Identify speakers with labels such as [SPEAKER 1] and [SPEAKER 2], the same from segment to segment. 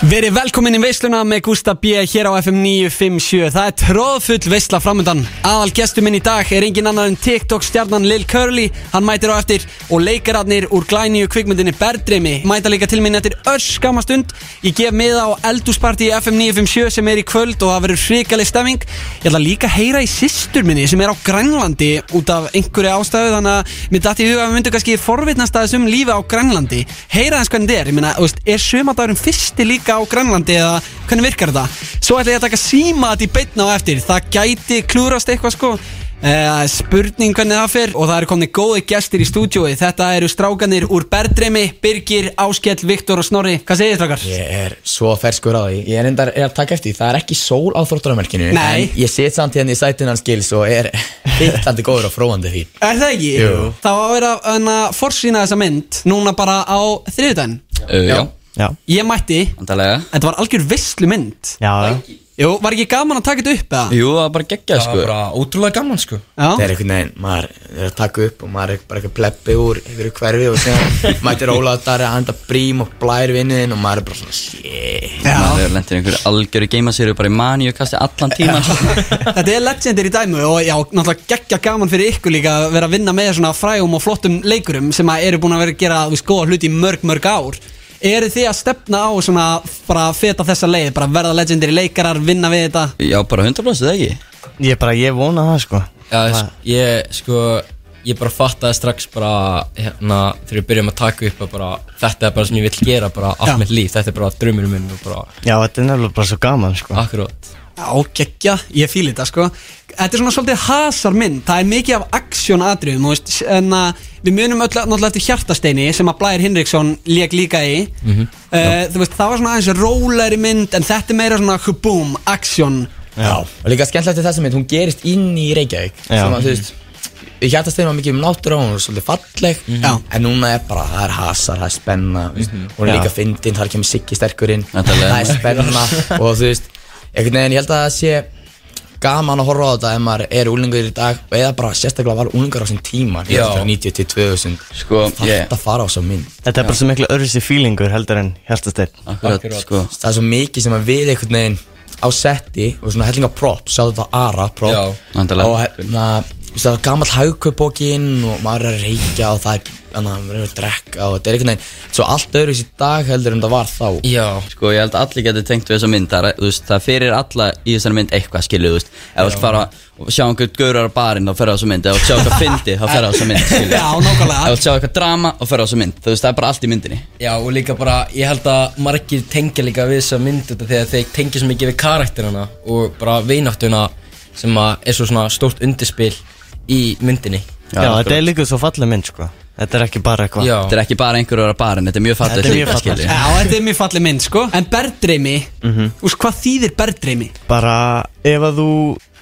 [SPEAKER 1] Verið velkomin í veisluna með Gústa B. hér á FM 957 Það er tróðfull veisla framöndan Aðal gestur minn í dag er engin annar en TikTok-stjarnan Lil Curly Hann mætir á eftir og leikararnir úr glænýju kvikmyndinni Berdreimi Mæta líka til minn eftir örskamma stund Ég gef miða á eldúsparti í FM 957 sem er í kvöld og það verður hrikaleg stemming Ég ætla líka að heyra í systur minni sem er á Grænlandi út af einhverju ástæðu Þannig að mér datt í huga að við myndum kannski forvitnast aðeins um lífi á Grænlandi Heyra aðeins hvernig þetta er, ég meina, þú veist, er sömadagurinn fyrsti líka á Grænlandi eða hvernig virkar þetta? Svo ætla ég að taka síma þetta í beitna á eftir, það gæti klúrast eitthvað sko Uh, spurning hvernig það fyrr og það eru komni góði gestir í stúdjói þetta eru strákanir úr Berdreimi Birgir, Áskell, Viktor og Snorri hvað segir þið strákar?
[SPEAKER 2] Ég er svo ferskur á því Ég er endar er að taka eftir því Það er ekki sól á þróttunarmerkinu
[SPEAKER 1] Nei.
[SPEAKER 2] En ég set samt hérna í sætinn hans gils Og er hittandi góður og fróandi því
[SPEAKER 1] Er það ekki?
[SPEAKER 2] Jú.
[SPEAKER 1] Það var að vera hana, forsýna þessa mynd núna bara á þriðudaginn
[SPEAKER 3] Uh, já,
[SPEAKER 4] Já,
[SPEAKER 1] Ég mætti,
[SPEAKER 3] andalega
[SPEAKER 1] þetta var algjör visslu mynd
[SPEAKER 4] já,
[SPEAKER 1] Jú, var ekki gaman að taka þetta upp eða?
[SPEAKER 3] Jú, það var bara geggjað
[SPEAKER 5] Það
[SPEAKER 3] sko
[SPEAKER 5] var bara ótrúlega gaman sko
[SPEAKER 2] Það
[SPEAKER 1] Já,
[SPEAKER 2] er einhvern veginn Maður er að taka upp Og maður er bara eitthvað pleppi úr Yfir hverfi Og sem mætir Ólaður þar Að handa brím og blær vinnuðinn Og maður er bara svona Shit
[SPEAKER 3] Það er lentir einhverju algjöru geimasýru bara í maníu kasti allan tíman sko.
[SPEAKER 1] þetta er legendir í dæmu og já, náttúrulega geggja gaman fyrir ykkur líka að vera að vinna með svona frægum og flottum leikurum sem að eru búin að vera að gera þú veist, góða hluti í mörg, mörg ár Eru þið að stefna á svona bara að feta þessa leið, bara verða legendir leikarar, vinna við þetta?
[SPEAKER 3] Já, bara 100% eða ekki
[SPEAKER 4] ég bara, ég vona það sko
[SPEAKER 5] Já, sk- ég sko Ég bara fattaði strax bara hérna Þegar við byrjum að taka upp að bara Þetta er bara sem ég vill gera bara
[SPEAKER 1] Já.
[SPEAKER 5] allt mitt líf Þetta er bara draumurinn minn og bara
[SPEAKER 4] Já, þetta er nefnilega bara svo gaman sko
[SPEAKER 5] akkurát
[SPEAKER 1] Já, geggja, ég fíli þetta sko Þetta er svona svolítið hasar mynd Það er mikið af aksjón atriðum þú veist, En að við munum öll náttúrulega eftir Hjartasteini Sem að Blær Hinriksson lék líka í mm Þú veist, það var svona aðeins Róleri mynd, en þetta er meira svona Hubboom, aksjón
[SPEAKER 2] Já Og líka skemmtilegt er þessa mynd Hún gerist inn í Reykjavík
[SPEAKER 4] Já.
[SPEAKER 2] Sem að þú veist Ég hjartast þeim að mikið um náttúru og hún er svolítið falleg
[SPEAKER 1] Já.
[SPEAKER 2] En núna er bara, það er hasar, það er spenna mm Hún er
[SPEAKER 4] Já.
[SPEAKER 2] líka fyndin, þar kemur Siggi sterkurinn
[SPEAKER 3] Náttúrulega.
[SPEAKER 2] Það er spenna Og þú veist, einhvern veginn, ég held að það sé Gaman að horfa á þetta ef maður er úlingur í dag Og eða bara sérstaklega var úlingur á þessum tíma
[SPEAKER 5] Já.
[SPEAKER 2] 90 til 2000
[SPEAKER 3] Sko, ég-
[SPEAKER 2] Þetta fara á svo mynd
[SPEAKER 4] Þetta er bara svo miklu örfisi fílingur heldur en hjartasteinn
[SPEAKER 3] Akkurat,
[SPEAKER 5] Akkurat.
[SPEAKER 3] sko
[SPEAKER 2] það er svo mikið sem að við einhvern veginn á setti og svona hellinga prop, sjáttu þetta Ara prop
[SPEAKER 5] Já,
[SPEAKER 3] náttúrulega.
[SPEAKER 2] og hérna, þú veist, það er gammal haugkupokinn og maður er að reykja og það er þannig að maður er að drekka og þetta er einhvern veginn svo allt öðru í dag heldur en það var þá
[SPEAKER 5] Já,
[SPEAKER 3] Sko, ég held að allir getur tengt við þessa mynd Það, er- þú veist, það fyrir alla í þessari mynd eitthvað skilu, þú veist Ef þú vilt fara og sjá einhvern gaurar á barinn, þá ferðu á þessa mynd Ef þú vilt sjá eitthvað fyndi, þá ferðu á þessa mynd, skilu
[SPEAKER 1] Já, nákvæmlega.
[SPEAKER 3] Ef þú vilt sjá eitthvað drama, þá ferðu á þessa mynd Þú veist, það er bara allt í myndinni
[SPEAKER 5] já og líka bara Ég held að margir tengja líka við þessa mynd þetta Þegar þeir tengja svo mikið við karakterina Og bara veináttuna Sem að er svo svona stórt undirspil Í myndinni
[SPEAKER 4] Já, þetta er líka svo falleg mynd sko Þetta er ekki bara eitthvað
[SPEAKER 5] Já,
[SPEAKER 3] Þetta er ekki bara einhverjur á barinn, þetta er mjög
[SPEAKER 4] Þetta
[SPEAKER 3] fallið
[SPEAKER 4] er mjög fallegt.
[SPEAKER 3] skilurðu.
[SPEAKER 1] Já, þetta er mjög fallið mynd sko En berðdreimi,
[SPEAKER 4] Mm. Mhm.
[SPEAKER 1] þú veist, hvað þýðir berðdreimi?
[SPEAKER 4] Bara ef að þú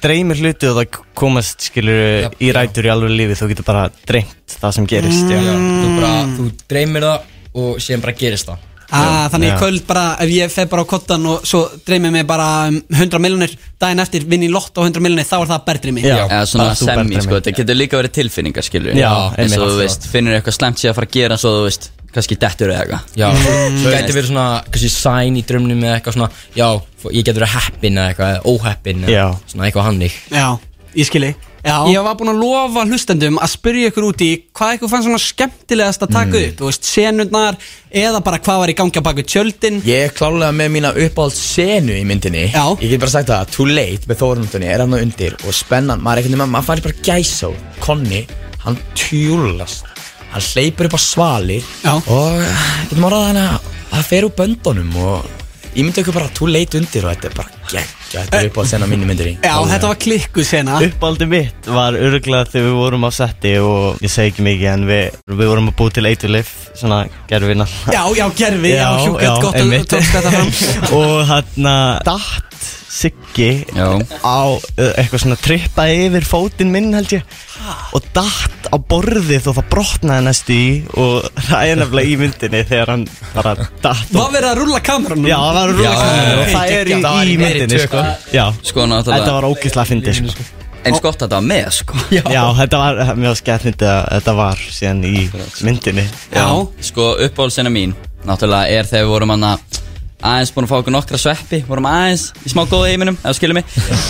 [SPEAKER 4] dreymir hluti og það komast skilur
[SPEAKER 5] Já, Mm.
[SPEAKER 4] í rætur í alveg lífi Þú getur bara dreymt það sem gerist
[SPEAKER 5] já,
[SPEAKER 4] já.
[SPEAKER 5] þú bara, þú dreymir það Og síðan bara gerist það
[SPEAKER 1] Ah, þannig í
[SPEAKER 4] Já.
[SPEAKER 1] kvöld bara, ef ég fer bara á kottan og svo dreymið mig bara um 100 miljonir daginn eftir, vinn í lott á 100 miljonir þá er það berðdreimi
[SPEAKER 4] Já.
[SPEAKER 3] eða svona
[SPEAKER 4] bara þú
[SPEAKER 3] semi
[SPEAKER 4] berð
[SPEAKER 3] sko,
[SPEAKER 4] drauminn.
[SPEAKER 3] þetta getur líka verið tilfinningar skilur
[SPEAKER 4] Já,
[SPEAKER 3] eins og
[SPEAKER 4] einmitt.
[SPEAKER 3] þú veist, finnur eitthvað slemt sér að fara að gera svo þú veist, kannski dettur eða eitthvað
[SPEAKER 5] Já,
[SPEAKER 3] Mm.
[SPEAKER 4] Mm.
[SPEAKER 5] svo gæti verið svona kannski sæn í drömnum eða eitthvað svona Já, f- ég gæti verið heppin eða eitthvað, eða óheppin eða
[SPEAKER 4] Já.
[SPEAKER 5] Svona eitthvað hannig
[SPEAKER 1] Já, ég skilji Já. Ég var búinn að lofa hlustendum að spyrja ykkur út í hvað ykkur fannst svona skemmtilegast að taka
[SPEAKER 3] Mm.
[SPEAKER 1] upp, þú veist, senundnar eða bara hvað var í gangi að baka tjöldin
[SPEAKER 2] Ég er klálega með mína uppáhald senu í myndinni
[SPEAKER 1] Já.
[SPEAKER 2] Ég get bara sagt það, Too Late með Þórumdunni er hann á undir og spennan, maður er einhvern veginn, maður fari bara gæsá Konni, hann tjúlast Hann hleypur upp á svalir
[SPEAKER 1] Já.
[SPEAKER 2] Og eh, getur maður að hann að fer úr böndunum og ég myndi ekki bara Too Late undir og þetta er bara geggja Þetta
[SPEAKER 1] Eh.
[SPEAKER 2] er uppáhald sena mín í myndinni
[SPEAKER 1] Já, þetta var klikku sena
[SPEAKER 4] Uppáldi mitt var öruglega þegar við vorum á setti og ég segi ekki mikið en við, við vorum að búi til eiturlif, svona gerfina
[SPEAKER 1] Já, já, gerfi, já, já hjúkjöld gott að
[SPEAKER 4] einmitt.
[SPEAKER 1] tókst þetta fram
[SPEAKER 4] Og hann datt Siggi
[SPEAKER 3] Já.
[SPEAKER 4] á eh, eitthvað svona trippa yfir fótinn minn held ég
[SPEAKER 1] Ah.
[SPEAKER 4] og datt á borðið og það brotnaði næstu í og það er nefnilega í myndinni þegar hann bara datt og,
[SPEAKER 1] Var verið að rúlla kameranum?
[SPEAKER 4] Já, það var rúlega kamerun og
[SPEAKER 2] já,
[SPEAKER 4] það er í,
[SPEAKER 2] já, það var
[SPEAKER 4] í
[SPEAKER 2] í meiri
[SPEAKER 4] myndinni
[SPEAKER 2] tökum.
[SPEAKER 4] sko Já,
[SPEAKER 3] sko
[SPEAKER 4] þetta
[SPEAKER 3] náttúrulega,
[SPEAKER 4] var ógeðslega fyndið sko
[SPEAKER 3] eins gott að þetta var með sko já,
[SPEAKER 4] Já, þetta var mjög skemmtnið að þetta var síðan í myndinni
[SPEAKER 1] Já.
[SPEAKER 3] sko uppáhaldsina mín náttúrulega er þegar við vorum hann að aðeins búin að fá okkur nokkra sveppi vorum aðeins í smá góða heiminum ef þú skilur mig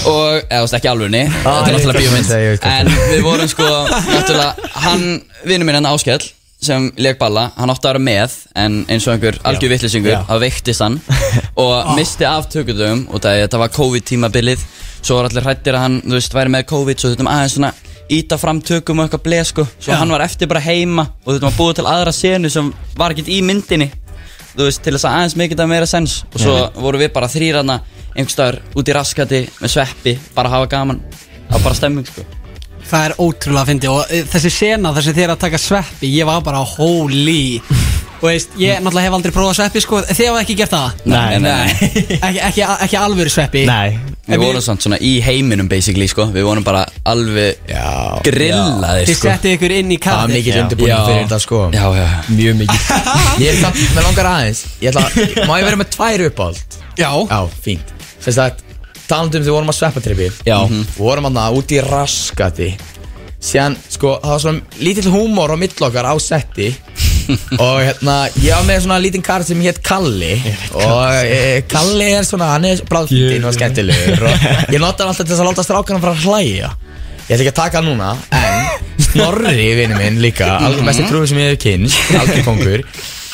[SPEAKER 3] og, eða þú veist ekki alveg þetta
[SPEAKER 2] ég
[SPEAKER 3] er
[SPEAKER 2] veit hvað
[SPEAKER 3] náttúrulega bíómynd
[SPEAKER 2] þú segir, ég veit hvað
[SPEAKER 3] en við vorum sko, náttúrulega hann, vinur minn hann Áskell sem leik balla, hann átti að vera með en eins og einhver algjör vittlisingur
[SPEAKER 2] Já. Ah.
[SPEAKER 3] þá veiktist hann og misti af tökutum og það, þetta var COVID tímabilið svo var allir hrættir að hann, þú veist, væri með COVID svo þurftum aðeins svona íta fram tökum og eitthvað bleð sko, svo hann var eftir bara heima og þurftum að búa til aðra senu sem var ekkert í myndinni þú veist, til þess að aðeins mikið að meira sens og svo vorum við bara þrýrana einhverstaðar út í raskati með sveppi bara að hafa gaman, það var bara stemming sko.
[SPEAKER 1] Það er ótrúlega að fyndi og eh, þessi sena þessi þeir að taka sveppi, ég var bara holy og veist, ég náttúrulega hef aldrei prófað sveppi sko, þið hafa ekki gert það
[SPEAKER 4] Nei,
[SPEAKER 3] nei.
[SPEAKER 1] ekki, ekki, ekki alvöru sveppi
[SPEAKER 4] Nei
[SPEAKER 3] við vorum samt svona í heiminum basically sko. við vorum bara alveg
[SPEAKER 2] Já,
[SPEAKER 3] grillaðir
[SPEAKER 1] þið
[SPEAKER 3] sko.
[SPEAKER 1] settið ykkur inn í
[SPEAKER 2] Það var
[SPEAKER 1] kati
[SPEAKER 2] mikill undirbúin fyrir þetta sko
[SPEAKER 3] já, já, já.
[SPEAKER 5] Mjög mikið
[SPEAKER 2] Ég er samt, með langar aðeins Ég ætla, að- Má ég vera með tvær uppáld?
[SPEAKER 1] Já,
[SPEAKER 2] Já, fínt Sem sagt, talandum þegar við vorum að sveppa trippi
[SPEAKER 5] Já.
[SPEAKER 2] Mhm. Við vorum aðna út í raskati Síðan, sko, það var svona lítill húmor á millokkar á setti Og hérna, ég var með svona lítinn kar sem hétt Kalli Og e, Kalli er svona, hann er bráðfyndin og skemmtilegur Og ég nota hann alltaf til þess að láta strákanum frá að hlæja Ég ætla ekki að taka hann núna, en Snorri, vinnu minn, líka Alveg besti trúi sem ég hef kynst, algjör kongur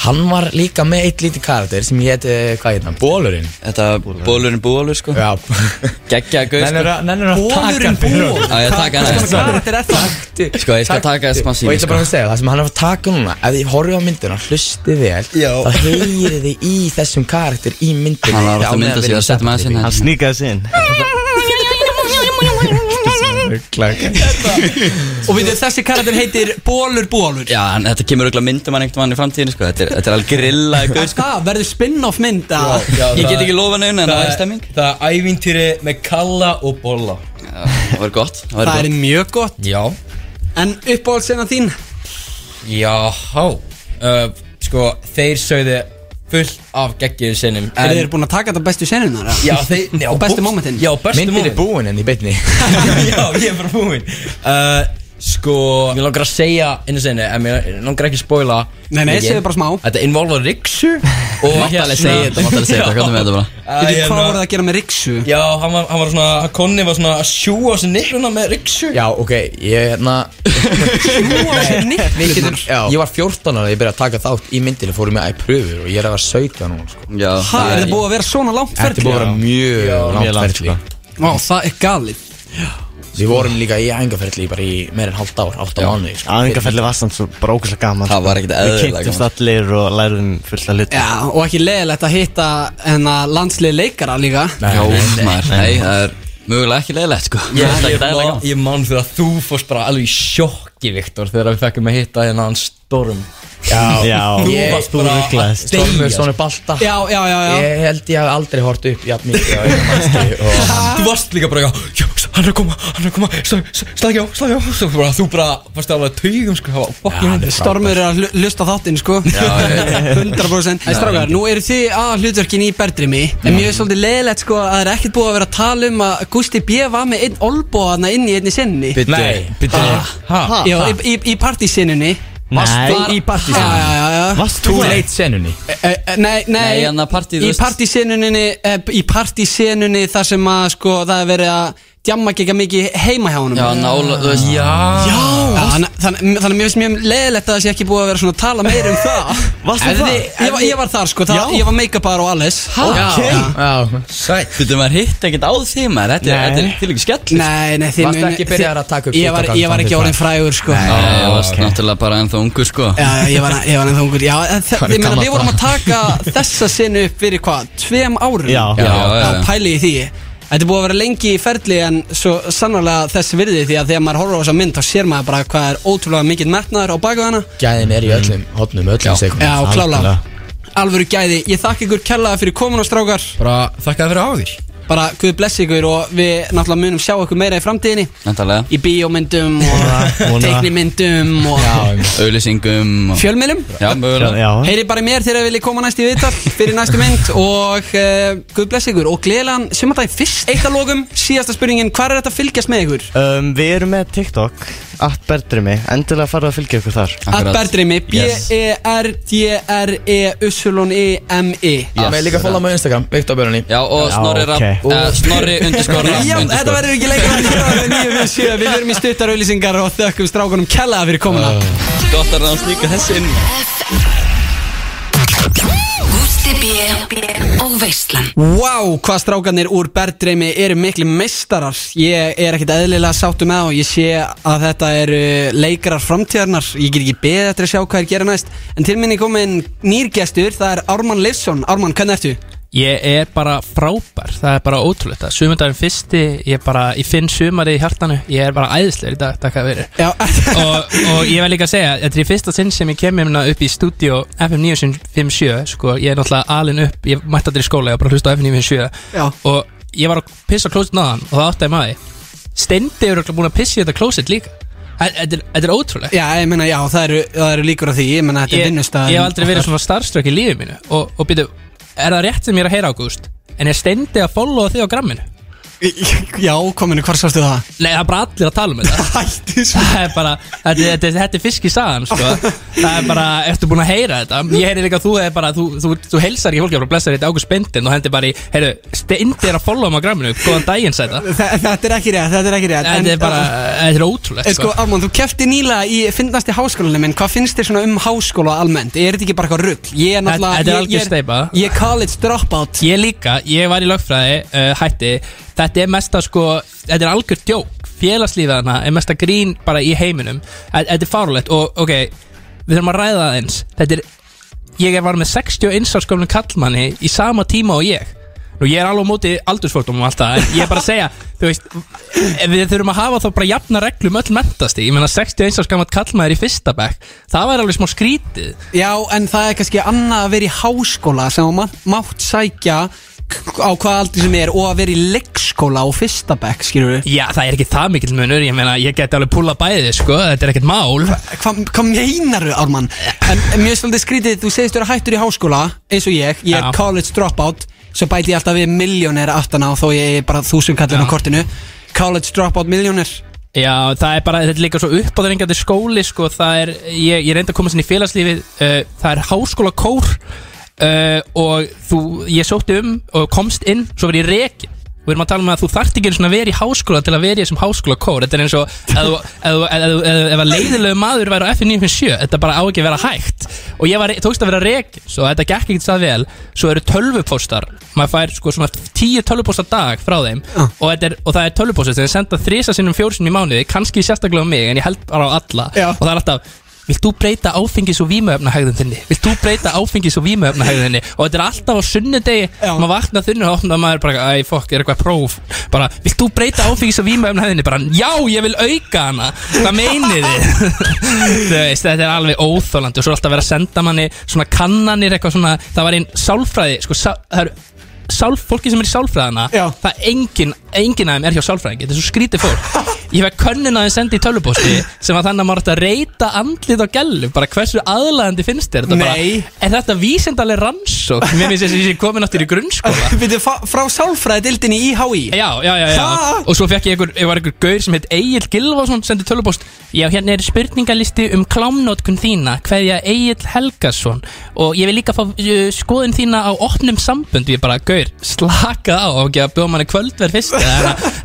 [SPEAKER 2] Hann var líka með eitt lítið karakter sem hétt, eh, hvað hérna, Bólurinn
[SPEAKER 3] þetta bólurinn bólur sko.
[SPEAKER 2] Já,
[SPEAKER 3] geggja gauð sko.
[SPEAKER 2] nennir að
[SPEAKER 1] Bólurinn
[SPEAKER 2] fyrir-
[SPEAKER 1] ból
[SPEAKER 3] Já, ég taka hana
[SPEAKER 1] Hvers konar
[SPEAKER 3] aðeins.
[SPEAKER 1] karakter er það?
[SPEAKER 3] Sko, ég skal
[SPEAKER 2] Taktu.
[SPEAKER 3] taka smá síni,
[SPEAKER 2] Og ég ætla
[SPEAKER 3] sko.
[SPEAKER 2] bara að segja, það sem hann er að taka núna Ef þið horfið á myndina, hlustið vel Já. Þá heyrið þið í þessum karakter í myndina
[SPEAKER 3] hann var
[SPEAKER 2] Á meðan
[SPEAKER 3] alltaf myndað
[SPEAKER 2] við
[SPEAKER 3] sér
[SPEAKER 2] erum
[SPEAKER 3] að setja hérna. með
[SPEAKER 4] Hann
[SPEAKER 3] þessi
[SPEAKER 4] sníkaði sig inn
[SPEAKER 1] Og við þessi karakter heitir Bólur Bólur
[SPEAKER 3] já, hann, þetta kemur auðvitað myndum hann einhvern mann í framtíðinu sko. þetta er, þetta er alveg grillaði gauð sko.
[SPEAKER 1] Það verður spin-off mynd að
[SPEAKER 5] Já,
[SPEAKER 3] ég get
[SPEAKER 5] það-
[SPEAKER 3] ekki lofa neina en það er stemming
[SPEAKER 5] Það er ævintýri með kalla og bolla
[SPEAKER 3] Já, það var gott það var
[SPEAKER 1] Það er
[SPEAKER 3] gott.
[SPEAKER 1] mjög gott
[SPEAKER 5] Já
[SPEAKER 1] En uppáhaldsena þín
[SPEAKER 5] Jáhá uh, Sko, þeir sögðu fullt af geggjur sinnum
[SPEAKER 1] Er þeir búin að taka þetta bestu senunar?
[SPEAKER 5] Já, þeir já,
[SPEAKER 1] Og bestu
[SPEAKER 5] bú-
[SPEAKER 1] momentin?
[SPEAKER 5] Já, bestu
[SPEAKER 2] Myndin er
[SPEAKER 5] momentin
[SPEAKER 2] búin enn í beinni
[SPEAKER 5] Já, ég er bara búinn uh, Sko Mér langar að segja einu sinni En mér langar ekki að spoila
[SPEAKER 1] Nei, nei,
[SPEAKER 5] mikið.
[SPEAKER 1] segðu bara smá.
[SPEAKER 5] Þetta involvar Riksu Og
[SPEAKER 3] Máttalega segja þetta, máttalega segja þetta, hvað er með þetta bara?
[SPEAKER 1] Við
[SPEAKER 5] Æ,
[SPEAKER 1] veitum hvað
[SPEAKER 5] hérna.
[SPEAKER 1] voruð að gera með Riksu
[SPEAKER 5] Já, hann var, hann var svona hann Konni var svona að sjúa á sig nikluna með Riksu
[SPEAKER 2] Já, ok, ég hérna
[SPEAKER 1] Sjúa sér
[SPEAKER 2] við
[SPEAKER 1] nýtt
[SPEAKER 2] getum- Ég var 14 ára, ég byrjaði að taka þátt í myndinu Fórum ég að pröfur og ég er að vera 17 núna sko.
[SPEAKER 3] Já,
[SPEAKER 1] Það er það búið að vera svona langt
[SPEAKER 2] Þetta er
[SPEAKER 1] ferli
[SPEAKER 2] búin að vera mjög
[SPEAKER 4] mjög
[SPEAKER 2] langt
[SPEAKER 4] langt,
[SPEAKER 2] ferli
[SPEAKER 1] Ó, það er galið
[SPEAKER 2] Við vorum líka í æfingaferli bara í meir en hálft ár, 8 mánuði sko.
[SPEAKER 4] Aðingarfelli var samt svo bara ógæslega gaman sko.
[SPEAKER 3] Það var ekkert
[SPEAKER 4] Við
[SPEAKER 3] eðlilega
[SPEAKER 4] kynntumst allir og lærum fullt af hluti
[SPEAKER 1] Já, og ekki leiðilegt að hitta hennar landslið leikara líka
[SPEAKER 3] Já, maður, nei, það er mögulega ekki leiðilegt sko
[SPEAKER 5] Ég,
[SPEAKER 3] Það er
[SPEAKER 5] ég,
[SPEAKER 3] ekki dæla
[SPEAKER 5] man, ég man þegar þú fórst bara alveg í sjokki, Viktor Þegar við fekkum að hitta hérna hann Storm
[SPEAKER 2] Já,
[SPEAKER 4] Já,
[SPEAKER 5] Ég-
[SPEAKER 4] þú
[SPEAKER 5] bara-
[SPEAKER 4] rugglaðist
[SPEAKER 2] Stormur,
[SPEAKER 5] deyja.
[SPEAKER 2] Sónu Balta
[SPEAKER 1] Já, já, já, já
[SPEAKER 2] Ég held ég hef aldrei hort upp jafn mikið á einu mannski og
[SPEAKER 5] Þú varst líka bara, já, já, hann er að koma, hann er að koma, slagi á, slagi á Svo bara, þú bara, fannst alveg að taugum, sko, það var fucking
[SPEAKER 2] hann
[SPEAKER 5] hundið
[SPEAKER 2] er
[SPEAKER 1] Stormur er að hlu- hlusta á þáttinn, sko 100% En strákar, nú eru þið að hlutverkin í Berdrimi En mér er svolítið leiðilegt, sko, að það er ekkert búið að vera að tala um að Gusti B. var með einn olbóðana inn í einni sinni
[SPEAKER 2] Nei,
[SPEAKER 5] Ha?
[SPEAKER 1] Já, í, í, í partísinnunni
[SPEAKER 4] Nei,
[SPEAKER 2] í
[SPEAKER 1] Já,
[SPEAKER 2] partísinu
[SPEAKER 1] já, já, já
[SPEAKER 4] varst
[SPEAKER 2] Þú
[SPEAKER 4] þú
[SPEAKER 2] leit senunni
[SPEAKER 1] Eh, eh, Nei, nei,
[SPEAKER 3] Nei, hérna, partí, þú
[SPEAKER 1] í
[SPEAKER 3] veist.
[SPEAKER 1] partísenunni Í partísenunni þar sem að sko, það er verið að djamma gegga mikið heima hjá honum
[SPEAKER 3] Já, ná, þú veist Já,
[SPEAKER 1] Já, þannig, þannig, þannig mér finnst mjög leðilegt að það sé ekki búið að vera svona að tala meira um það
[SPEAKER 4] Varstu
[SPEAKER 1] En
[SPEAKER 4] það?
[SPEAKER 1] þið- Ég, var- ég var þar sko, það,
[SPEAKER 4] Já.
[SPEAKER 1] ég var make-upar og alles
[SPEAKER 2] Já, já
[SPEAKER 5] Sætt
[SPEAKER 3] Þú veitum maður hitt ekkert á því maður Þetta
[SPEAKER 2] Nei.
[SPEAKER 3] er- þetta er til ykkur skell
[SPEAKER 1] Nei, nei, þið
[SPEAKER 2] Varstu
[SPEAKER 1] munu-
[SPEAKER 2] ekki byrjaður að taka upp
[SPEAKER 1] Ég var,
[SPEAKER 2] TikTok
[SPEAKER 1] ég var ekki
[SPEAKER 2] account
[SPEAKER 1] orðin
[SPEAKER 2] þitt?
[SPEAKER 1] frægur sko
[SPEAKER 2] Nei.
[SPEAKER 3] Já,
[SPEAKER 2] Já,
[SPEAKER 3] það varst náttúrulega bara ennþá ungur sko
[SPEAKER 1] Já, já, ég var, ég var ennþá ungur Já, en þe-
[SPEAKER 2] Hann er
[SPEAKER 1] ég meina,
[SPEAKER 2] gamall
[SPEAKER 1] við vorum að
[SPEAKER 2] bara.
[SPEAKER 1] taka þessa sinu upp fyrir hvað, tveim árum
[SPEAKER 4] Já.
[SPEAKER 1] já,
[SPEAKER 4] Já,
[SPEAKER 3] já, já.
[SPEAKER 1] pæli í því Þetta er búið að vera lengi í ferli en svo sannarlega þess virði því að þegar maður horfir á þessa mynd þá sér maður bara hvað er ótrúlega mikill metnaður á baku hana
[SPEAKER 2] Gæðin er í
[SPEAKER 3] Mm.
[SPEAKER 2] öllum hotnum, öllum sekundum
[SPEAKER 1] Já, klála
[SPEAKER 4] algjörlega.
[SPEAKER 1] Alvöru gæði, ég þakka ykkur kellaða fyrir komin og strákar
[SPEAKER 5] Bara, þakka þér fyrir áður
[SPEAKER 1] bara Guð blessi ykkur og við náttúrulega munum sjá ykkur meira í framtíðinni
[SPEAKER 3] Nættalega
[SPEAKER 1] í bíómyndum og
[SPEAKER 4] Vona.
[SPEAKER 1] teiknimyndum og
[SPEAKER 3] Auðlýsingum og-
[SPEAKER 1] fjölmiðlum
[SPEAKER 3] Já, mögulega
[SPEAKER 4] Já,
[SPEAKER 1] Heyri bara í mér þegar þið viljið koma næst í viðtal fyrir næstu mynd og uh, Guð bless ykkur og gleðilegan sumardaginn fyrst Eitt að lokum, síðasta spurningin, hvað er þetta að fylgjast með ykkur?
[SPEAKER 4] um, Við erum með TikTok Atberdrimi, endilega farið að fylgja ykkur þar
[SPEAKER 1] Að berðrimi,
[SPEAKER 3] Yes.
[SPEAKER 1] B-E-R-D-R-E-U-S-L-O-N-E-M-E
[SPEAKER 2] Það með líka að follow
[SPEAKER 3] já.
[SPEAKER 2] mig á Instagram, Viktor Björni
[SPEAKER 3] Já, og
[SPEAKER 4] Já,
[SPEAKER 3] Snorri
[SPEAKER 4] ok.
[SPEAKER 3] Rapp eh, Snorri underscore Rapp
[SPEAKER 1] Já, þetta
[SPEAKER 3] underscore.
[SPEAKER 1] verður ekki lengur en hér á við 957 Við verum í stuttar auðlýsingar og þökkum strákunum kellaða fyrir komuna
[SPEAKER 3] Gott að ráðast líka þessi inn
[SPEAKER 6] Gústi B og Veislan
[SPEAKER 1] Vá, hvað strákanir úr Berðreimi eru miklu meistarar Ég er ekkert eðlilega sáttu með það og ég sé að þetta eru leikarar framtíðarnar Ég get ekki beðið eftir að sjá hvað er gera næst En til minni komin nýrgestur, það er Ármann Leifsson Ármann, hvernig ertu?
[SPEAKER 7] Ég er bara frábær, það er bara ótrúlegt það Sumundagurinn fyrsti, ég bara, ég finn sumari í hjartanu Ég er bara æðislegur í dag, takk að veri
[SPEAKER 1] Já,
[SPEAKER 7] og, og ég var líka að segja, þetta er í fyrsta sinn sem ég kem hérna upp í stúdíó FM 957 Sko, ég er náttúrulega alin upp, ég mætti aldrei í skóla, ég var bara að hlusta á FM 957
[SPEAKER 1] Já.
[SPEAKER 7] Og ég var að pissa á klósett náðan og það átti að maður Steindi eru búin að pissa í þetta klósett líka Þa- Þetta er- þetta er ótrúlegt
[SPEAKER 1] já, ég meina, já, það eru, það eru líkur á því Ég meina, þetta er
[SPEAKER 7] ég,
[SPEAKER 1] vinnustæðan
[SPEAKER 7] ég hef aldrei verið svona starfströk í lífið mínu og, og byrju, er það rétt sem ég er að heyra ágúst en er steindi að followa þig á gramminu
[SPEAKER 1] Já, kominu, hvar sástu það?
[SPEAKER 7] nei það er bara allir að tala um þetta
[SPEAKER 1] Hættu svo
[SPEAKER 7] það er bara, þetta, þetta, þetta er fisk í saðan sko. það er bara, ertu búin að heyra þetta ég heyri líka að þú er bara, þú, þú, þú heilsar ekki fólki, bara blessar þetta ágúst bindin og hendi bara í, heyrðu, steindi er að followa mig á gramminu góðan daginn sæta
[SPEAKER 1] Þa- Þetta er ekki rétt, þetta er ekki rétt En-
[SPEAKER 7] þetta er bara, þetta er ótrúlegt
[SPEAKER 1] En sko, Armand, þú kefti nýlega í finnast í háskólanum minn, hvað finnst þér svona um háskóla almennt? Er þetta ekki bara eitthvað rugg? Ég er náttúrulega
[SPEAKER 7] Þetta- þetta er
[SPEAKER 1] ég- ég
[SPEAKER 7] algjör steypa.
[SPEAKER 1] Ég er college dropout
[SPEAKER 7] Ég líka, ég var í lögfræði, uh, hætti Þetta er mesta sko, þetta er algjör djók Félagslífið hana er mesta grín bara í heiminum Þa- Þetta er fárulegt og ok, við þurfum að ræða það eins Þetta er, ég er var með 61 árskomlum kallmanni í sama tíma og ég Nú ég er alveg á móti aldursfórtum og allt það En ég er bara að segja, þú veist Við þurfum að hafa þá bara jafna reglum öll mentast í Ég meina 61 árskamall kallmaður í fyrsta bekk Það væri alveg smá skrítið
[SPEAKER 1] Já, en það er kannski annað að vera í háskóla sem að ma- mátt sækja k- á hvað aldrei sem er og að vera í leikskóla og fyrsta bekk, skilur við
[SPEAKER 7] Já, það er ekki það mikill munur, ég meina, ég geti alveg púla bæði, sko, þetta er ekkert mál Eh,
[SPEAKER 1] Hvað hva meinaru, Ármann? En en mér er svolítið skrítið, þú segist vera hættur í háskóla eins og ég, ég er
[SPEAKER 7] Já.
[SPEAKER 1] college dropout svo bæti ég alltaf við miljónir aftan á þó ég er bara þúsund kallin á
[SPEAKER 7] Já.
[SPEAKER 1] kortinu college dropout miljónir
[SPEAKER 7] Já, það er bara, þetta er líka svo uppáðringandi skóli, sko, það er, ég, ég reyndi að komast inn í félagslífið, uh, það er háskóla kór uh, og þú, ég sótti um og komst inn, svo verið ég rekin Við erum að tala um að þú þarft ekki einu svona að vera í háskóla til að vera í þessum háskóla kór Þetta er eins og ef þú- ef þú- ef þú- ef- ef að leiðilegu maður væri á F957 Þetta bara á ekki að vera hægt Og ég var, tókst að vera reik Svo þetta gekk ekki það vel Svo eru tölvupóstar Maður fær sko svona tíu tölvupóstar dag frá þeim og, þetta er, og það er tölvupóstar sem þeir senda þrisa sinnum fjórsinnum í mánuði Kanski sérstaklega á mig en ég held bara á alla
[SPEAKER 1] Já.
[SPEAKER 7] Og það er alltaf Vilt þú breyta áfengis og vímöfnahægðin þinni? Vilt þú breyta áfengis og vímöfnahægðin þinni? Og þetta er alltaf á sunnudegi
[SPEAKER 1] Já.
[SPEAKER 7] maður vakna þunni og opna maður bara Æ, fokk, er eitthvað próf Bara, vilt þú breyta áfengis og vímöfnahæðinni? Bara, já, ég vil auka hana Hvað meinið þið? Þú veist, þetta er alveg óþólandi Og svo er alltaf verið að senda manni svona kannanir eitthvað svona Það var einn sálfræði, sko, sá, það eru Sálf, fólki sem er í sálfræðina
[SPEAKER 1] Já.
[SPEAKER 7] það er engin, engin af þeim er hjá sálfræðingi þetta er svo skrítið fólk ég fekk könnun að þeim sendi í tölvupósti sem var þannig að maður átti að reyta andlið á gælu bara hversu aðlaðandi finnst þér þetta
[SPEAKER 1] Nei.
[SPEAKER 7] bara, er þetta vísindaleg rannsók mér finnst þess að ég sé komin áttir í grunnskóla
[SPEAKER 1] Býttu, frá, frá sálfræðidildinni í HÍ
[SPEAKER 7] Já, já, já, já.
[SPEAKER 1] Ha?
[SPEAKER 7] Og svo fekk ég einhver, ég var einhver gaur sem heit Egil Gilvason sendi tölvupost Já, hérna er spurningalisti um klámnótkun þína Hverja Egil Helgason Og ég vil líka fá uh, skoðun þína á opnum sambund Ég bara, gaur, slaka á Og ekki að bjóða manni kvöldverð fyrst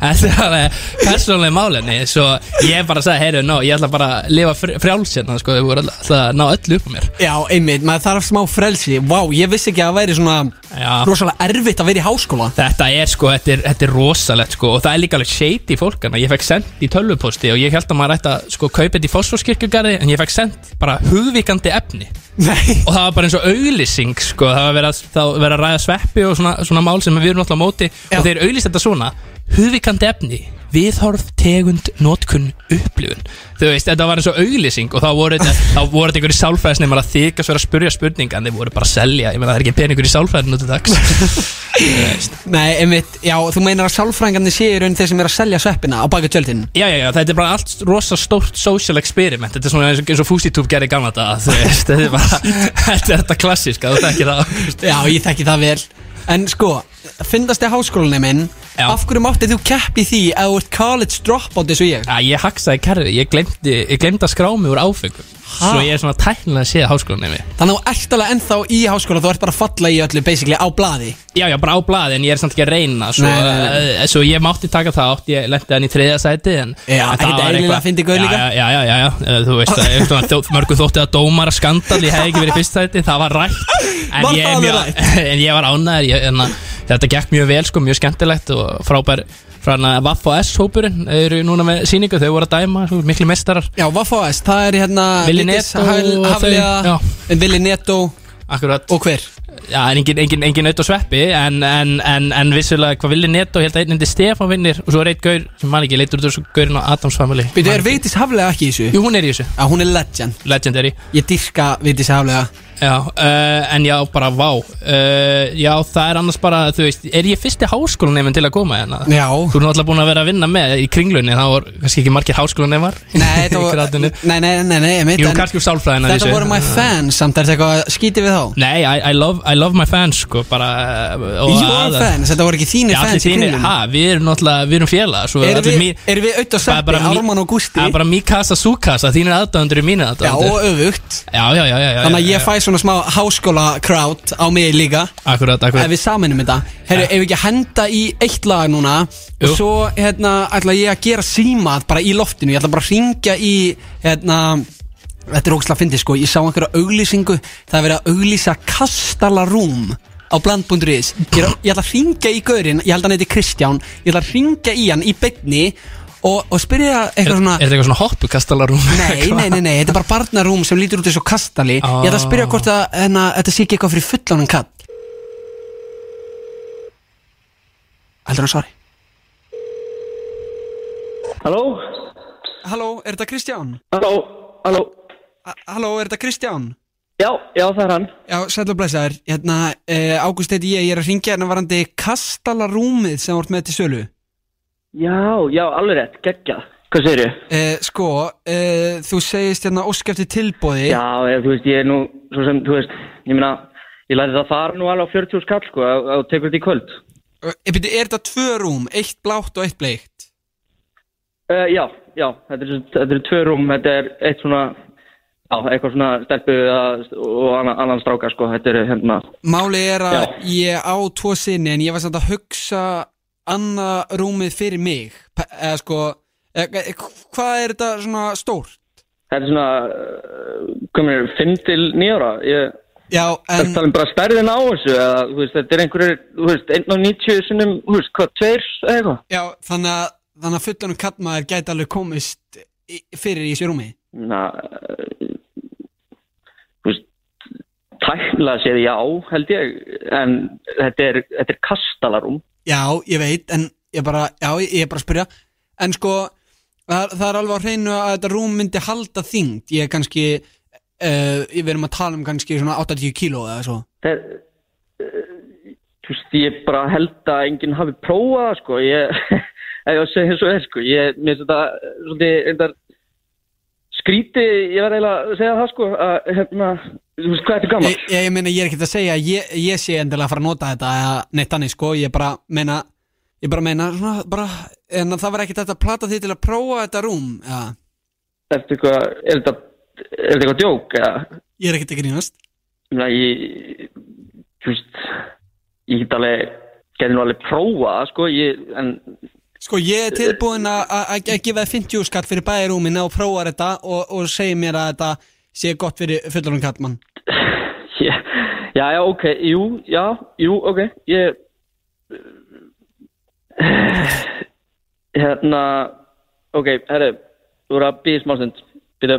[SPEAKER 7] Þannig að það er persónulega málinni Svo ég bara sagði, heyrðu, ná, ég ætla bara að lifa fr- frjáls hérna Sko, ég voru alltaf alltaf að ná öllu upp á mér
[SPEAKER 1] Já, einmitt, maður þarf smá frelsi Vá, ég vissi ekki að það væri svona
[SPEAKER 7] Já.
[SPEAKER 1] rosalega erfitt að vera í háskóla
[SPEAKER 7] Þetta er sko, þetta er, þetta er rosalegt sko og það er líka alveg shady fólkana Ég fekk sendt í tölvuposti og ég held að maður ætti að sko kaupa þetta í fósforskirkjugarði En ég fekk sendt bara hugvíkandi efni
[SPEAKER 1] Nei
[SPEAKER 7] Og það var bara eins og auglýsing sko, það var verið að, það var verið að ræða sveppi og svona, svona mál sem við erum alltaf á móti
[SPEAKER 1] Já.
[SPEAKER 7] Og þeir auglýst þetta svona, hugvíkandi efni viðhorf, tegund, notkun, upplifun Þú veist, þetta var eins og auglýsing og þá voru þetta, þá voru þetta einhverju sálfræðisneimar að þykast vera að spurja spurning en þeir voru bara að selja, ég meina það er ekki peningur í sálfræðin út í dags
[SPEAKER 1] Nei, einmitt, já, þú meinar að sálfræðingarnir séu í raun þeir sem er að selja sveppina á baki tjöldin
[SPEAKER 7] Já, já, já, þetta er bara allt rosa stórt social experiment Þetta er svona eins og, eins og Fúsitúb gerði gamla þetta Þú veist, þetta er bara, þetta er þetta klassísk að þú þekkir það
[SPEAKER 1] Já, ég þekki það vel En sko, fyndast þið háskólinni minn
[SPEAKER 7] Já.
[SPEAKER 1] Af hverju máttið þú keppi því að þú ert college dropout eins og ég?
[SPEAKER 7] Já, ég haksaði kerfi, ég glemdi, ég glemdi að skrá mig úr áfengum
[SPEAKER 1] Ha?
[SPEAKER 7] Svo ég er svona tæknilega séð háskólanemi
[SPEAKER 1] Þannig að þú ert alveg ennþá í háskóla Þú ert bara að falla í öllu, basically, á blaði
[SPEAKER 7] Já, já, bara á blaði en ég er samt ekki að reyna Svo,
[SPEAKER 1] Nei, nei, nei.
[SPEAKER 7] eh, svo ég mátti taka það átt, ég lendi hann í þriðja sæti en,
[SPEAKER 1] Já,
[SPEAKER 7] en það
[SPEAKER 1] ekkert
[SPEAKER 7] var
[SPEAKER 1] eðlilega
[SPEAKER 7] eitthvað-
[SPEAKER 1] fyndi gaur líka.
[SPEAKER 7] Já, já, já, já, já, eh, þú veist að ég- svona þó- Mörgum þótti að dómara skandal, ég hef ekki verið í fyrst sæti Það var rætt En,
[SPEAKER 1] Var
[SPEAKER 7] ég,
[SPEAKER 1] það
[SPEAKER 7] er
[SPEAKER 1] alveg
[SPEAKER 7] mjög, en ég var ánæður ég, en, að- Þetta gekk mjög vel, sko, mjög skemmtilegt Og frábær hérna, frá hann að Vaff og S-hópurinn Eru núna með síningu, þau voru að dæma sko, Mikli mestarar,
[SPEAKER 1] Já, Vaffa S, það er hérna
[SPEAKER 7] Willy
[SPEAKER 1] Vigdís
[SPEAKER 7] Netto
[SPEAKER 1] Hafl-
[SPEAKER 7] og þau, já.
[SPEAKER 1] Hafliða Vili Neto
[SPEAKER 7] akkurat
[SPEAKER 1] og hver?
[SPEAKER 7] Já, en engin, engin, engin auðvitað sveppi en, en, en, en vissulega hvað villi netto held að einn endi Stefán vinnir og svo er einn gaur sem man ekki leitur út úr þessu gaurinn á Adams Family
[SPEAKER 1] Býtu, er Vigdís Haflega ekki í þessu?
[SPEAKER 7] Jú, hún er í þessu,
[SPEAKER 1] Já, hún er legend
[SPEAKER 7] legendary
[SPEAKER 1] Ég dyrka Vigdís Haflega
[SPEAKER 7] Já, uh, en já, bara vá uh, Já, það er annars bara, þú veist Er ég fyrsti háskólanefn til að koma hérna?
[SPEAKER 1] Já
[SPEAKER 7] Þú er náttúrulega búin að vera að vinna með í kringlunni Það var kannski ekki margir háskólanefnar
[SPEAKER 1] Nei, þetta
[SPEAKER 7] Í
[SPEAKER 1] var
[SPEAKER 7] gradinu.
[SPEAKER 1] Nei, nei, nei, nei, einmitt,
[SPEAKER 7] Jú,
[SPEAKER 1] en-
[SPEAKER 7] kannski úr sálfræðina
[SPEAKER 1] Þetta
[SPEAKER 7] þessu.
[SPEAKER 1] voru my fans samt, er þetta eitthvað að skíti við þá?
[SPEAKER 7] Nei, I, I, love, I love my fans, sko bara, uh, og
[SPEAKER 1] Your
[SPEAKER 7] aðal-
[SPEAKER 1] fans, þetta voru ekki þínir
[SPEAKER 7] Já, allir
[SPEAKER 1] fans í
[SPEAKER 7] þínir,
[SPEAKER 1] kringlunni
[SPEAKER 7] ha, við erum náttúrulega, við erum félags og
[SPEAKER 1] Erum
[SPEAKER 7] allir
[SPEAKER 1] við,
[SPEAKER 7] mín-
[SPEAKER 1] erum við auðvitað
[SPEAKER 7] Það er
[SPEAKER 1] seppi,
[SPEAKER 7] mí-
[SPEAKER 1] Ármann og Gústi
[SPEAKER 7] Það er bara mí kassa, sú kassa, þínir aðdöðandur er mínu
[SPEAKER 1] Já,
[SPEAKER 7] aðdöðandur
[SPEAKER 1] og öfugt
[SPEAKER 7] já, já, já, já, já
[SPEAKER 1] Þannig að ég fæ svona smá háskóla crowd á mig líka
[SPEAKER 7] Akkurat,
[SPEAKER 1] Ef
[SPEAKER 7] akkurat
[SPEAKER 1] við saminum þetta Herru, ef við ekki að henda í eitt lag núna
[SPEAKER 7] Jú.
[SPEAKER 1] Og svo, hérna, ætla ég að gera símað bara í loftinu Ég ætla bara að ringja í, hérna Þetta er ógslag að fyndi, sko Ég sá einhverja auglýsingu Það er verið að auglýsa kastalarúm á bland.is ég, er að- ég ætla að ringja í gaurinn Ég held að hann heiti Kristján Ég ætla að ringja í hann í beinni Og, og spyrja
[SPEAKER 7] Er,
[SPEAKER 1] eitthvað svona
[SPEAKER 7] er þetta eitthvað svona hoppukastalarúm?
[SPEAKER 1] Nei, nei, nei, nei, þetta er bara barnarúm sem lítur út eins og kastali Ég ætla að spyrja hvort að hérna, þetta sé ekki eitthvað fyrir fullanum kall Heldur hann svari
[SPEAKER 8] Halló?
[SPEAKER 1] Halló, er þetta Kristján?
[SPEAKER 8] Halló? Halló?
[SPEAKER 1] Ha- Halló, er þetta Kristján?
[SPEAKER 8] Já, já, það er hann.
[SPEAKER 1] Já, sætla blæsaður, hérna, eh, Ágúst heiti ég, ég er að ringja hérna varandi kastalarúmið sem vart með til sölu
[SPEAKER 8] Já, já, alveg rétt, geggja. Hvað segir þau?
[SPEAKER 1] eh, Sko, eh, þú segist hérna ósk eftir tilbóði
[SPEAKER 8] Já, ég, þú veist, ég er nú, svo sem, þú veist, ég meina, ég læti það fara nú alveg á 40 skall, sko, að- að þú tekur þetta í kvöld.
[SPEAKER 1] Eh, byrju, Er þetta tvö rúm, eitt blátt og eitt bleikt?
[SPEAKER 8] Uh, já, já, þetta eru þetta er tvö rúm, þetta er eitt svona, já, eitthvað svona stelpu að, og annan, annan stráka, sko, þetta eru hérna,
[SPEAKER 1] Máli er að
[SPEAKER 8] Já.
[SPEAKER 1] ég á tvo sinni en ég var samt að hugsa annað rúmið fyrir mig P- eða sko e- e- hvað er þetta svona stórt?
[SPEAKER 8] þetta er svona, uh, komir, 5 til 9 ára, ég...
[SPEAKER 1] Já,
[SPEAKER 8] Það
[SPEAKER 1] en
[SPEAKER 8] tala um bara stærðin á þessu eða, þú veist, þetta er einhverjir, þú veist, 1.90 sinnum, þú veist, hvað, tveir eða eitthvað?
[SPEAKER 1] já, þannig að þannig að fullanum kallmaður gæti alveg komist í- fyrir í þessu rúmi
[SPEAKER 8] Na, eh, þú veist, tæknilega séð já, held ég, en þetta er, þetta er kastalarum.
[SPEAKER 1] Já, ég veit, en ég bara já, ég er bara að spyrja en sko, það, það er alveg á hreinu að þetta rúm myndi halda þyngd ég er kannski Uh, við erum að tala um kannski svona 80 kíló eða svo
[SPEAKER 8] Það, uh, þú veist, ég bara held að enginn hafi prófað, það, sko, ég, ef ég á að segja svo er, sko, ég, mér finnst þetta, eh, svolítið, einnig skríti, ég verð eiginlega að segja það, sko, að, hérna, þú veist, hvað þetta er gaman?
[SPEAKER 1] Ég, ég, ég meina, ég er ekkert að segja að ég, ég sé endilega að fara að nota þetta eða neitt annir sko, ég bara meina ég bara meina, svona, bara en það var ekkert þetta að plata því til að prófa þetta rúm ja.
[SPEAKER 8] Ertu eitthvað, er þetta, er þetta eitthvað djók eða,
[SPEAKER 1] ég er ekkert að grínast
[SPEAKER 8] ég meina, ég, þú veist, ég get alveg, gerði nú alveg prófa, það, sko, ég, en,
[SPEAKER 1] sko, ég er tilbúin að- að að- að gefa þér 50 skatt fyrir bæði rúmin og prófa þetta og, og segi mér að þetta sé gott fyrir fullarum kattmann
[SPEAKER 8] ég, já, já, ok, jú, já, jú, ok, ég, hérna, ok, herri, þú voru að býða smá stund, býða,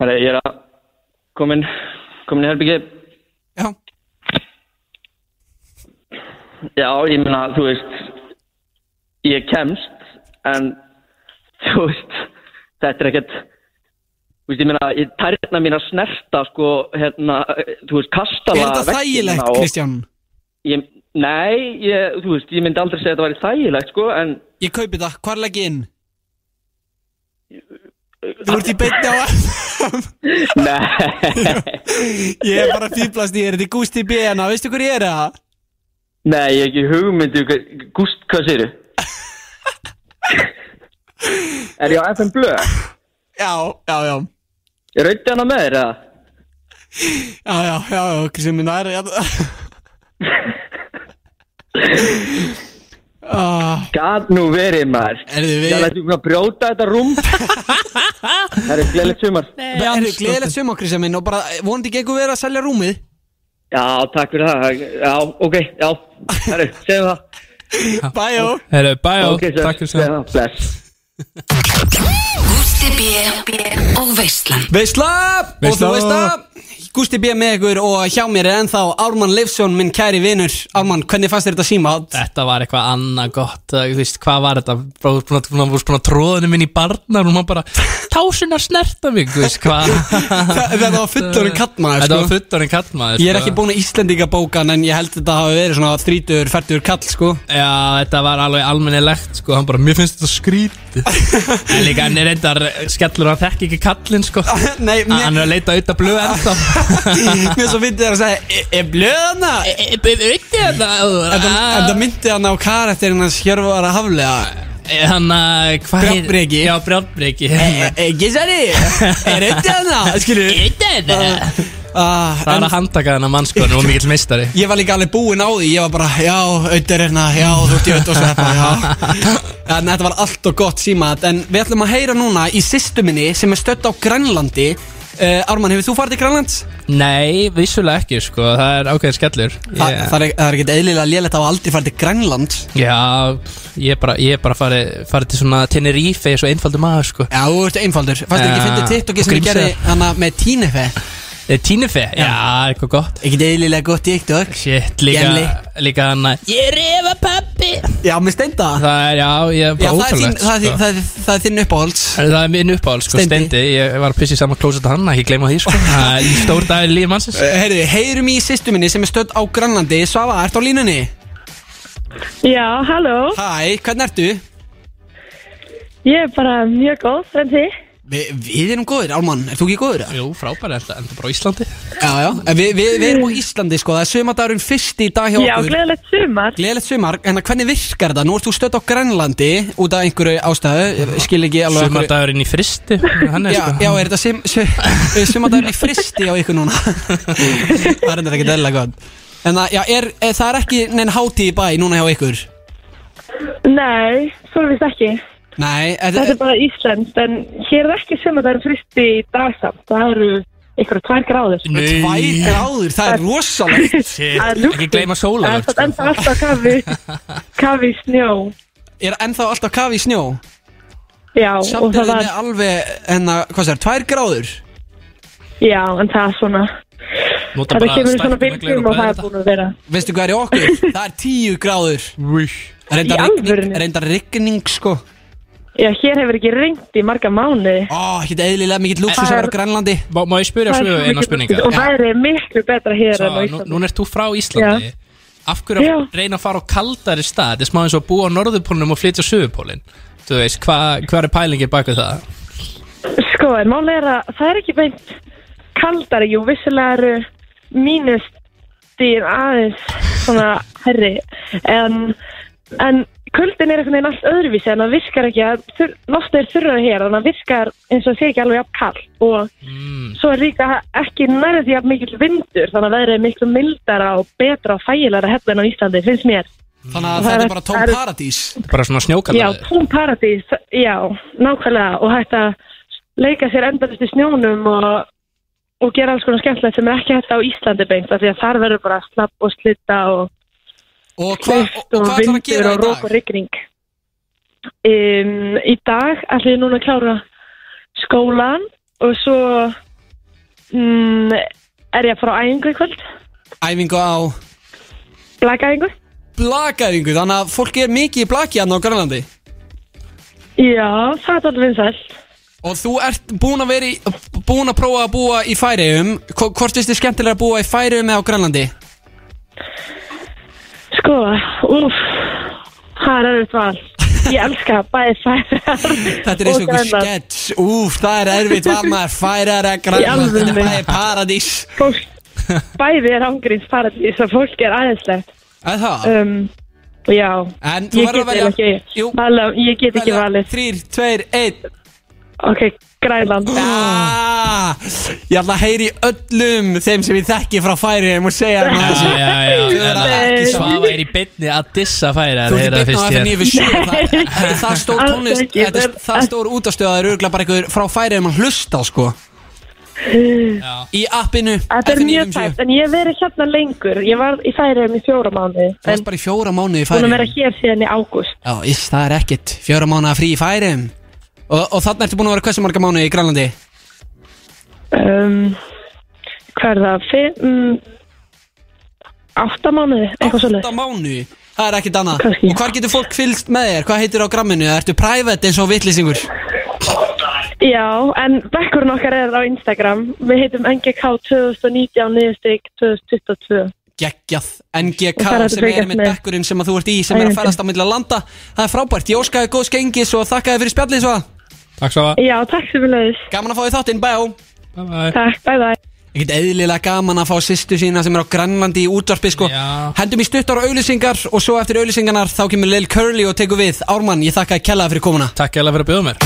[SPEAKER 8] herri, ég er að, komin, komin í herbyggið,
[SPEAKER 1] já,
[SPEAKER 8] Já, ég meina, þú veist ég kemst en þú veist þetta er ekkert þú veist, ég meina, ég- tærna mín að snerta sko, hérna, þú veist, kastala
[SPEAKER 1] Er þetta
[SPEAKER 8] veggina
[SPEAKER 1] þægilegt,
[SPEAKER 8] og-
[SPEAKER 1] Kristján?
[SPEAKER 8] Ég, nei, ég, þú veist, ég myndi aldrei segja að þetta væri þægilegt, sko, en
[SPEAKER 1] Ég kaupi það, hvar legg ég inn? Þú ert í beinni á FM
[SPEAKER 8] nei,
[SPEAKER 1] Ég er bara að fýblast í, er þetta í Gústi B en að veistu hver ég er það?
[SPEAKER 8] nei, ég hef ekki hugmyndu, gúst, hvað séru? er ég á FM Blöð?
[SPEAKER 1] Já, já, já
[SPEAKER 8] Rauti hana með þér, eða?
[SPEAKER 1] Já, já, já, já, okkur sem minna er já. Ah,
[SPEAKER 8] Gat nú verið, maður.
[SPEAKER 1] Herðu, við-
[SPEAKER 8] Það lætum við að brjóta þetta rúm. það er gleyðilegt sumar.
[SPEAKER 1] Það eru gleðilegt sum okkur sem minn og bara eh, vonandi ekki eitthvað verið að selja rúmið
[SPEAKER 8] Já, takk fyrir það. Já, ok, já. Herru, segjum það.
[SPEAKER 1] Bæjó
[SPEAKER 7] Herru, bæjó,
[SPEAKER 8] Ok, sir.
[SPEAKER 7] takk fyrir sem
[SPEAKER 8] Segjum það. Bless.
[SPEAKER 6] Gústi B og Veislan
[SPEAKER 1] Veisla og þú
[SPEAKER 7] Veisla.
[SPEAKER 1] veist Gústi B með ykkur og hjá mér er ennþá Ármann Leifsson, minn kæri vinur Ármann, hvernig fannst þér þetta símátt?
[SPEAKER 7] Þetta var eitthvað annað gott eh, Þú veist, hvað var þetta? Bara, Þú veist, búin að, búin að tróðinu minn í barnar og maður bara, tásin að snerta mig Þú veist, hvað
[SPEAKER 1] Þetta var fullorinn kallmaður,
[SPEAKER 7] Þetta var
[SPEAKER 1] sko.
[SPEAKER 7] fullorinn kallmaður
[SPEAKER 1] Ég er
[SPEAKER 7] sko.
[SPEAKER 1] ekki búinn að Íslendingabókan en ég held þetta hafi verið svona 30-40 kall sko
[SPEAKER 7] Já, þetta var alveg almennilegt sko, hann bara, mér finnst þetta skrítið En líka hann er reyndar skellur, hann þekki ekki kallinn sko
[SPEAKER 1] Nei,
[SPEAKER 7] Hann
[SPEAKER 1] mér,
[SPEAKER 7] er að leita auðvitað blöð ennþá E,
[SPEAKER 1] mér svo myndi þér að segja "Er- Er blöðna? En það
[SPEAKER 7] Auðvitað
[SPEAKER 1] myndi hann á karakterinn hans Hjörvar að haflega
[SPEAKER 7] e, Hann að, hvað
[SPEAKER 1] Brjárnbreki.
[SPEAKER 7] Já, brjálbreki
[SPEAKER 1] E, Ekki E, særi, er auðvitað hana? Skilur Eh,
[SPEAKER 7] Auðvitað
[SPEAKER 1] Ah,
[SPEAKER 7] Það er
[SPEAKER 1] en
[SPEAKER 7] að handtaka þennan mann sko, hann var mikill meistari
[SPEAKER 1] Ég var líka alveg búinn á því Ég var bara, já, auðvitað er hérna Já, þú ert í auðvitað og sleppa já. En þetta var allt og gott símat En við ætlum að heyra núna í sýstu minni Sem er stödd á Grænlandi uh, Ármann, hefur þú farið til Grænlands?
[SPEAKER 7] Nei, vissulega ekki sko, það er ákveðin skellur
[SPEAKER 1] Þa,
[SPEAKER 7] Ég-
[SPEAKER 1] það, er, e- það er ekkert eðlilega lélegt að hafa aldrei farið til Grænland
[SPEAKER 7] Já, ég er bara, ég er bara farið, farið til svona Tenerife, svo einfaldur maður sko
[SPEAKER 1] Já, þú ert einfaldur Fannst þér ekki
[SPEAKER 7] Já,
[SPEAKER 1] fyndið TikToki sem ég
[SPEAKER 7] Grímsey.
[SPEAKER 1] gerði hana með Tínefe
[SPEAKER 7] Eh, Tínefe, já, eitthvað gott
[SPEAKER 1] Ekkert eðlilega gott TikTok
[SPEAKER 7] Shit, líka,
[SPEAKER 1] Gemli.
[SPEAKER 7] líka hann að Ég er Eva pappi
[SPEAKER 1] Já, með steinda Já,
[SPEAKER 7] Það er, já, ég er bara
[SPEAKER 1] það er, þín,
[SPEAKER 7] ótrúlegt
[SPEAKER 1] það, er, þín-
[SPEAKER 7] sko.
[SPEAKER 1] það, er, það er þinn uppáhalds
[SPEAKER 7] En Það er minn uppáhald, sko,
[SPEAKER 1] Steindi.
[SPEAKER 7] stendi Ég var að pissi saman klóset að hann, ekki gleyma því, sko Það er stór dagur líf mannsins
[SPEAKER 1] Herðu, Eh, heyrum í sýstu minni sem er stödd á Grænlandi Svava, ert á línunni?
[SPEAKER 9] Já, halló.
[SPEAKER 1] Hæ, hvernig ertu?
[SPEAKER 9] Ég er bara mjög góð en þið.
[SPEAKER 1] Vi, við erum góðir, Ármann, ert þú ekki góður? eða?
[SPEAKER 7] Jú, frábæri, enda, enda bara á Íslandi
[SPEAKER 1] Já, já, en við, við, við erum á Íslandi sko, það er sömadagurinn fyrst í dag hjá
[SPEAKER 9] Já,
[SPEAKER 1] okkur
[SPEAKER 9] gleðilegt sumar.
[SPEAKER 1] Gleðilegt sumar, en hvernig virkar þetta? Nú ert þú stödd á Grænlandi út af einhverju ástæðu, ég skil ekki alveg af hverju-
[SPEAKER 7] Sumadagurinn í fristi, hann er
[SPEAKER 1] Já,
[SPEAKER 7] sko
[SPEAKER 1] já, er þetta sem, sem, sumadagurinn í fristi á ykkur núna? það er þetta ekkert eðla gott En það, já, er, er, það er ekki neinn hátíð í bæ núna hjá ykkur?
[SPEAKER 9] Nei, svo er vist ekki.
[SPEAKER 1] Nei,
[SPEAKER 9] Þetta
[SPEAKER 1] þetta,
[SPEAKER 9] er bara Íslands, en hér er ekki sumar, það eru fristi í dag samt. Það eru ykkur tvær gráður.
[SPEAKER 1] er tvær gráður, það er rosalegt
[SPEAKER 9] Það er
[SPEAKER 7] Ekki gleyma sólavörð,
[SPEAKER 9] Það er enda alltaf kafi, kafi í snjó.
[SPEAKER 1] Er ennþá alltaf kafi í snjó?
[SPEAKER 9] Já, og það
[SPEAKER 1] Samt er þið
[SPEAKER 9] var,
[SPEAKER 1] með alveg, en að, hvað sér, tvær gráður?
[SPEAKER 9] já, en það er svona,
[SPEAKER 7] Nota
[SPEAKER 9] þetta
[SPEAKER 7] bara
[SPEAKER 9] kemur í svona
[SPEAKER 7] stærkuna gleraugu
[SPEAKER 9] bylgjum og það er
[SPEAKER 7] bræða
[SPEAKER 9] búin að vera.
[SPEAKER 1] Veistu hvað er í okkur? Það er tíu gráður
[SPEAKER 9] Í
[SPEAKER 1] Reyndar rigning,
[SPEAKER 9] alvörunni?
[SPEAKER 1] reyndar rigning sko Ó,
[SPEAKER 9] Já, hér hefur ekki ringt í marga mánuði.
[SPEAKER 1] ekki eðlilega mikill luxus
[SPEAKER 9] Það
[SPEAKER 1] að
[SPEAKER 9] er-
[SPEAKER 1] vera á Grænlandi
[SPEAKER 7] Má, má ég spyrja
[SPEAKER 9] Það er
[SPEAKER 7] svo
[SPEAKER 9] svo
[SPEAKER 7] eina
[SPEAKER 9] mikið-
[SPEAKER 7] spurninga?
[SPEAKER 9] Og það er miklu betra hér en á
[SPEAKER 7] Sá, nú,
[SPEAKER 9] Íslandi.
[SPEAKER 7] nú ert þú frá Íslandi Af hverju
[SPEAKER 9] Já.
[SPEAKER 7] að reyna að fara á kaldari stað Þetta er smá eins og að búa á norðupólnum og flytja á suðupólinn Þú veist, hvað hva er pælingið bak við það?
[SPEAKER 9] Sko, en mál er að það er ekki beint kaldari, jú, vissulega eru mínustýr aðeins svona herri, en, en kuldin er einhvern veginn allt öðruvísi en það virkar ekki að þur, loftið er þurrað hér, þannig að virkar eins og það sé ekki alveg jafn kall og
[SPEAKER 7] Mm.
[SPEAKER 9] svo er líka ekki nærið því að mikill vindur, þannig að það er miklu mildara og betra og þægilega hefði en á Íslandi, finnst mér.
[SPEAKER 1] Þannig að
[SPEAKER 9] Það
[SPEAKER 1] þetta
[SPEAKER 9] er-
[SPEAKER 1] er bara tóm
[SPEAKER 9] það er-
[SPEAKER 1] paradís
[SPEAKER 7] Bara svona
[SPEAKER 9] Já,
[SPEAKER 7] snjókallaði
[SPEAKER 9] tún paradís, já, nákvæmlega og hægt að leika sér endalist í snjónum og, og gera alls konar skemmtilegt sem er ekki hægt á Íslandi beint af því að þar verður bara slapp og slitta og
[SPEAKER 1] Og hvað og,
[SPEAKER 9] klift
[SPEAKER 1] og
[SPEAKER 9] og
[SPEAKER 1] hva ætlar að
[SPEAKER 9] vindur
[SPEAKER 1] gera í
[SPEAKER 9] og rók og
[SPEAKER 1] dag?
[SPEAKER 9] rigning um, Í dag ætlum ég núna að klára skólan og svo mm, um, er ég að fara á æfingu í kvöld
[SPEAKER 1] Æfingu á
[SPEAKER 9] Blaka æfingu
[SPEAKER 1] blakaðingu Þannig að fólk er mikið í blaki hann á Grænlandi
[SPEAKER 9] Já, það er alveg vinsælt.
[SPEAKER 1] Og þú ert búin að vera í, búin að prófa að búa í Færiðum Hvort finnst þið skemmtilega að búa í Færiðum eða á Grænlandi?
[SPEAKER 9] Sko, úf, það er erfitt val. Ég elska bæði færar
[SPEAKER 1] Þetta er eins og
[SPEAKER 9] og
[SPEAKER 1] einhver
[SPEAKER 9] grænar.
[SPEAKER 1] skets Úf, það er erfitt var maður Færiðar eða
[SPEAKER 9] Í
[SPEAKER 1] Grænland
[SPEAKER 9] alvörunni.
[SPEAKER 1] Þetta er bæði paradís
[SPEAKER 9] Fólk, bæði er ángríns paradís og fólk er aðeinslegt.
[SPEAKER 1] Eða það?
[SPEAKER 9] Um, já,
[SPEAKER 1] En þú
[SPEAKER 9] ég
[SPEAKER 1] verður
[SPEAKER 9] get
[SPEAKER 1] að velja
[SPEAKER 9] eiginlega ekki,
[SPEAKER 1] Jú,
[SPEAKER 9] vala, ég get ekki valið.
[SPEAKER 1] Þrýr, tveir, einn
[SPEAKER 9] Ok, Grænland.
[SPEAKER 1] Ah, Ég ætla að heyri öllum þeim sem ég þekki frá Færiðum og segja þeim að þessu
[SPEAKER 7] já, já,
[SPEAKER 1] Þú verður að
[SPEAKER 9] Nei.
[SPEAKER 1] ekki svara
[SPEAKER 7] Svafa er í beinni að dissa færa
[SPEAKER 1] Þú ert í byggna á FM 9 við 7 Það- það er Það stór
[SPEAKER 9] Alls
[SPEAKER 1] tónlist,
[SPEAKER 9] ekki,
[SPEAKER 1] þetta er
[SPEAKER 9] það er-
[SPEAKER 1] það stór útastöð Það er örgulega bara einhver frá færið um að hlusta á, sko Í appinu
[SPEAKER 9] Þetta er
[SPEAKER 1] FM
[SPEAKER 9] mjög
[SPEAKER 1] 957.
[SPEAKER 9] tætt, en ég hef verið hérna lengur. Ég var í færiðum í fjóra mánuði,
[SPEAKER 1] Þú
[SPEAKER 9] en
[SPEAKER 1] varst bara í fjóra mánuði í
[SPEAKER 9] búin að
[SPEAKER 1] færið
[SPEAKER 9] vera hér síðan í ágúst.
[SPEAKER 1] Já, iss, það er ekkit Fjóra mánuða frí í færið Og, og þarna ertu búin að vera hversu marga mánuði í Grænlandi
[SPEAKER 9] um, hvað er það, fimm, átta mánuði, eitthvað svolítið.
[SPEAKER 1] Átta mánuði Það er ekkit annað
[SPEAKER 9] Kannski.
[SPEAKER 1] Og hvar getur fólk fylgst með þér? Hvað heitir á gramminu? Ertu private eins og vitlýsingur?
[SPEAKER 9] Já, en bekkurinn okkar er á Instagram, við heitum NGK 2019 niðurstík 2022.
[SPEAKER 1] geggjað
[SPEAKER 9] Og það er
[SPEAKER 1] NGK
[SPEAKER 9] hægt að
[SPEAKER 1] sem er
[SPEAKER 9] fylgjast
[SPEAKER 1] með
[SPEAKER 9] með.
[SPEAKER 1] bekkurinn sem að þú ert í sem er að
[SPEAKER 9] Ævintýri.
[SPEAKER 1] færast á milli að landa það er frábært, ég óskaði góðs gengis og þakkaði fyrir spjallið svo
[SPEAKER 7] Takk svo
[SPEAKER 9] Já, takk sem við leiðis,
[SPEAKER 1] gaman að fá því þáttinn, bæjó
[SPEAKER 7] að
[SPEAKER 9] takk, bæ bæ.
[SPEAKER 1] ekkert eðlilega gaman að fá sýstu sína sem er á Grænlandi í útvarpi sko
[SPEAKER 7] Já.
[SPEAKER 1] hendum í stuttar og auðlýsingar og svo eftir auðlýsingarnar þá kemur Lil Curly og tekur við Ármann, ég þakkaði kellaði fyrir komuna
[SPEAKER 7] Takk eða fyrir að bjóða mér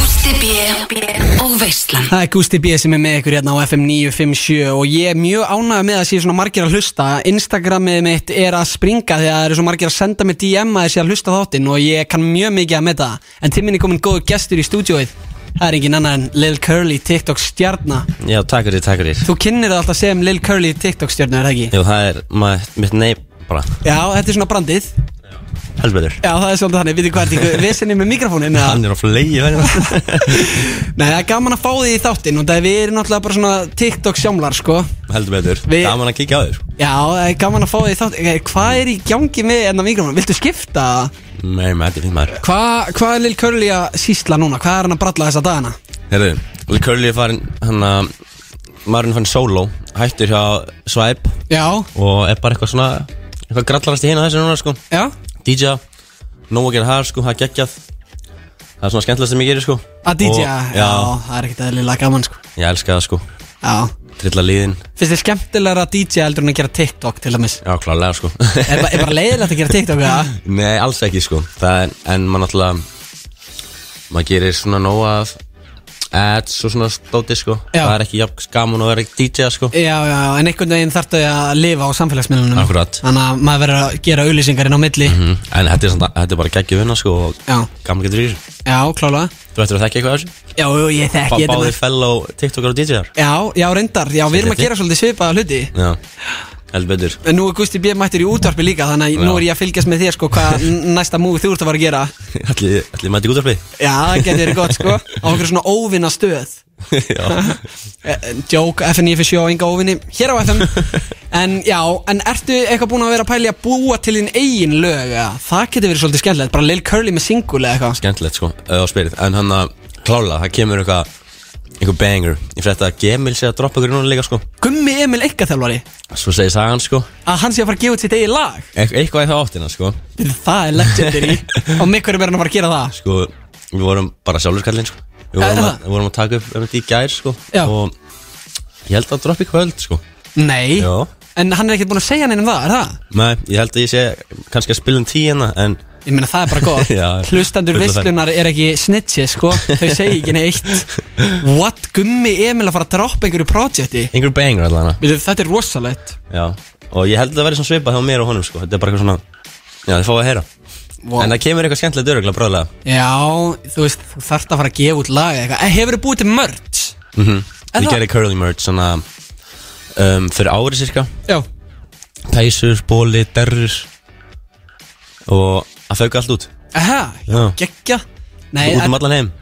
[SPEAKER 6] Gústi B og Veislan
[SPEAKER 1] Það er Gusti B sem er með ykkur hérna á FM 957 og ég er mjög ánægð með að sé svona margir að hlusta Instagramið mitt er að springa því að það eru svo margir að senda mér DM að þessi að hlusta á þáttinn og ég kann mjög mikið að metta það en til minn er komin góður gestur í stúdíóið Það er engin annar en Lil Curly TikTok stjarna
[SPEAKER 10] Já, takk fyrir, takk fyrir
[SPEAKER 1] Þú kynnir það alltaf sem Lil Curly TikTok stjarna, er það ekki?
[SPEAKER 10] Jú, það er maður, mitt neyp bara
[SPEAKER 1] Já, þetta er svona brandið Já,
[SPEAKER 10] Helst betur
[SPEAKER 1] það er svolítið þannig, við hvað er þetta, við sennið með mikrofónin eða?
[SPEAKER 10] Hann er á flegi
[SPEAKER 1] Nei, það er gaman að fá því í þáttinn og það er við erum náttúrulega bara svona TikTok sjámlar, sko
[SPEAKER 10] Heldur betur
[SPEAKER 1] Við-
[SPEAKER 10] Gaman að kíkja á þér
[SPEAKER 1] Já, það er gaman að fá því þátt Eh, Hvað er í gangi með enna mikrofón? Viltu skipta?
[SPEAKER 10] Nei, maður, þetta er fint maður
[SPEAKER 1] Hvað hva er Lil Curly að sýsla núna? Hvað er hann að bralla þessa dagana?
[SPEAKER 10] Herðu, Lil Curly er farin, hann að Maðurinn er farin solo Hættur hjá Swipe
[SPEAKER 1] Já,
[SPEAKER 10] Og er bara eitthvað svona Eitthvað grallarast í hina þessu núna, sko
[SPEAKER 1] já
[SPEAKER 10] DJ Nóa gera það, sko, það er geggjað Það er svona skemmtilegast sem ég gerir, sko
[SPEAKER 1] Að DJ, já.
[SPEAKER 10] Og- Já,
[SPEAKER 1] það er ekkert eðlilega gaman sko
[SPEAKER 10] ég elska það, sko
[SPEAKER 1] Já,
[SPEAKER 10] Trilla líðin
[SPEAKER 1] finnst þér skemmtilega að DJ heldur en að gera TikTok til dæmis?
[SPEAKER 10] Já, klálega, sko
[SPEAKER 1] Er, ba er bara leiðilegt að gera TikTok eða?
[SPEAKER 10] Nei, alls ekki sko Það er, En maður náttúrulega Maður gerir svona nóga af Ads og svona stóti sko
[SPEAKER 1] Já.
[SPEAKER 10] Það er ekki jafn gaman að vera DJ sko
[SPEAKER 1] Já, já, já, en einhvern veginn þarftu að lifa á samfélagsmiðlunum
[SPEAKER 10] Akkúrat.
[SPEAKER 1] Þannig að maður verður að gera auðlýsingarinn á milli
[SPEAKER 10] mm, En þetta er, samt, þetta er bara geggjum vinna sko Og
[SPEAKER 1] Já.
[SPEAKER 10] gaman getur í þessu
[SPEAKER 1] Já, klálega
[SPEAKER 10] Þú ættir að þekka eitthvað af þessu
[SPEAKER 1] Já, jú, ég
[SPEAKER 10] Bá,
[SPEAKER 1] þekki þetta
[SPEAKER 10] Báðir
[SPEAKER 1] maður.
[SPEAKER 10] fellow TikTokar og DJar
[SPEAKER 1] Já, já, reyndar, já, við erum að
[SPEAKER 10] Svolítið.
[SPEAKER 1] gera svolítið svipaða hluti
[SPEAKER 10] Já, heldur betur
[SPEAKER 1] En nú er Gusti B. mættur í útvarpi líka Þannig að
[SPEAKER 10] Já.
[SPEAKER 1] nú er ég að fylgjast með þér sko Hvað n- næsta múi þú ert að fara að gera
[SPEAKER 10] Ætli, ætli mæti gútarpi
[SPEAKER 1] Já, það getur verið gott sko Á einhverju svona óvinna stöð
[SPEAKER 10] Já
[SPEAKER 1] Joke, FN fyrir sjó, enga óvinni Hér á FM En já, en ertu eitthvað búin að vera að pæli að búa til þín eigin lög ja? Það getur verið svolítið skemmtilegt Bara Lil Curly með single eða eitthvað
[SPEAKER 10] Skemmtilegt sko uh, á spyrið En hann að klála Það kemur eitthvað Eitthvað banger Ég frétta að Gemil sé að droppa ykkur núna líka sko
[SPEAKER 1] Gummi Emil Eikaþjálfari
[SPEAKER 10] Svo segir sagan sko
[SPEAKER 1] Að hann sé að fara að gefa út sitt eigin lag
[SPEAKER 10] Eit- Eitthvað í það áttina sko
[SPEAKER 1] Það er legendary Og með hverju verður hann að fara að gera það
[SPEAKER 10] sko, við vorum bara sjálfurskallin sko. við,
[SPEAKER 1] Er
[SPEAKER 10] vorum
[SPEAKER 1] það?
[SPEAKER 10] að- við vorum að taka upp um þetta í gær sko.
[SPEAKER 1] Eh, Já.
[SPEAKER 10] og ég held að droppi kvöld sko.
[SPEAKER 1] Nei
[SPEAKER 10] Já.
[SPEAKER 1] En hann er ekkert búin að segja neinum það, er það?
[SPEAKER 10] Nei, ég held að ég sé kannski að spila um tíina en
[SPEAKER 1] Ég meina það er bara gott
[SPEAKER 10] Já.
[SPEAKER 1] Hlustendur
[SPEAKER 10] Fulla
[SPEAKER 1] visslunar er ekki snitchi sko Þau segi ekki neitt What gummi Emil að fara að droppa einhverju projekti
[SPEAKER 10] einhver banger allan
[SPEAKER 1] Við þau þetta er rosalegt
[SPEAKER 10] Já. og ég held að það verði svona svipað hjá mér og honum sko. þetta er bara eitthvað svona Já, þið fáið að heyra
[SPEAKER 1] Vá.
[SPEAKER 10] En það kemur eitthvað skemmtilegt öruglega bráðlega
[SPEAKER 1] Já, þú veist, þú þarft að fara að gefa út lag eða eitthvað Hefur þau búið til mörd?
[SPEAKER 10] mm -hmm. Ég
[SPEAKER 1] Er Mhm. það?
[SPEAKER 10] gerði curly merch svona, um, fyrir ári cirka
[SPEAKER 1] Já
[SPEAKER 10] Pæsur, bóli, derrur Og að fauka allt út
[SPEAKER 1] Aha,
[SPEAKER 10] Já.
[SPEAKER 1] geggja Nei,
[SPEAKER 10] Út um
[SPEAKER 1] en
[SPEAKER 10] allan heim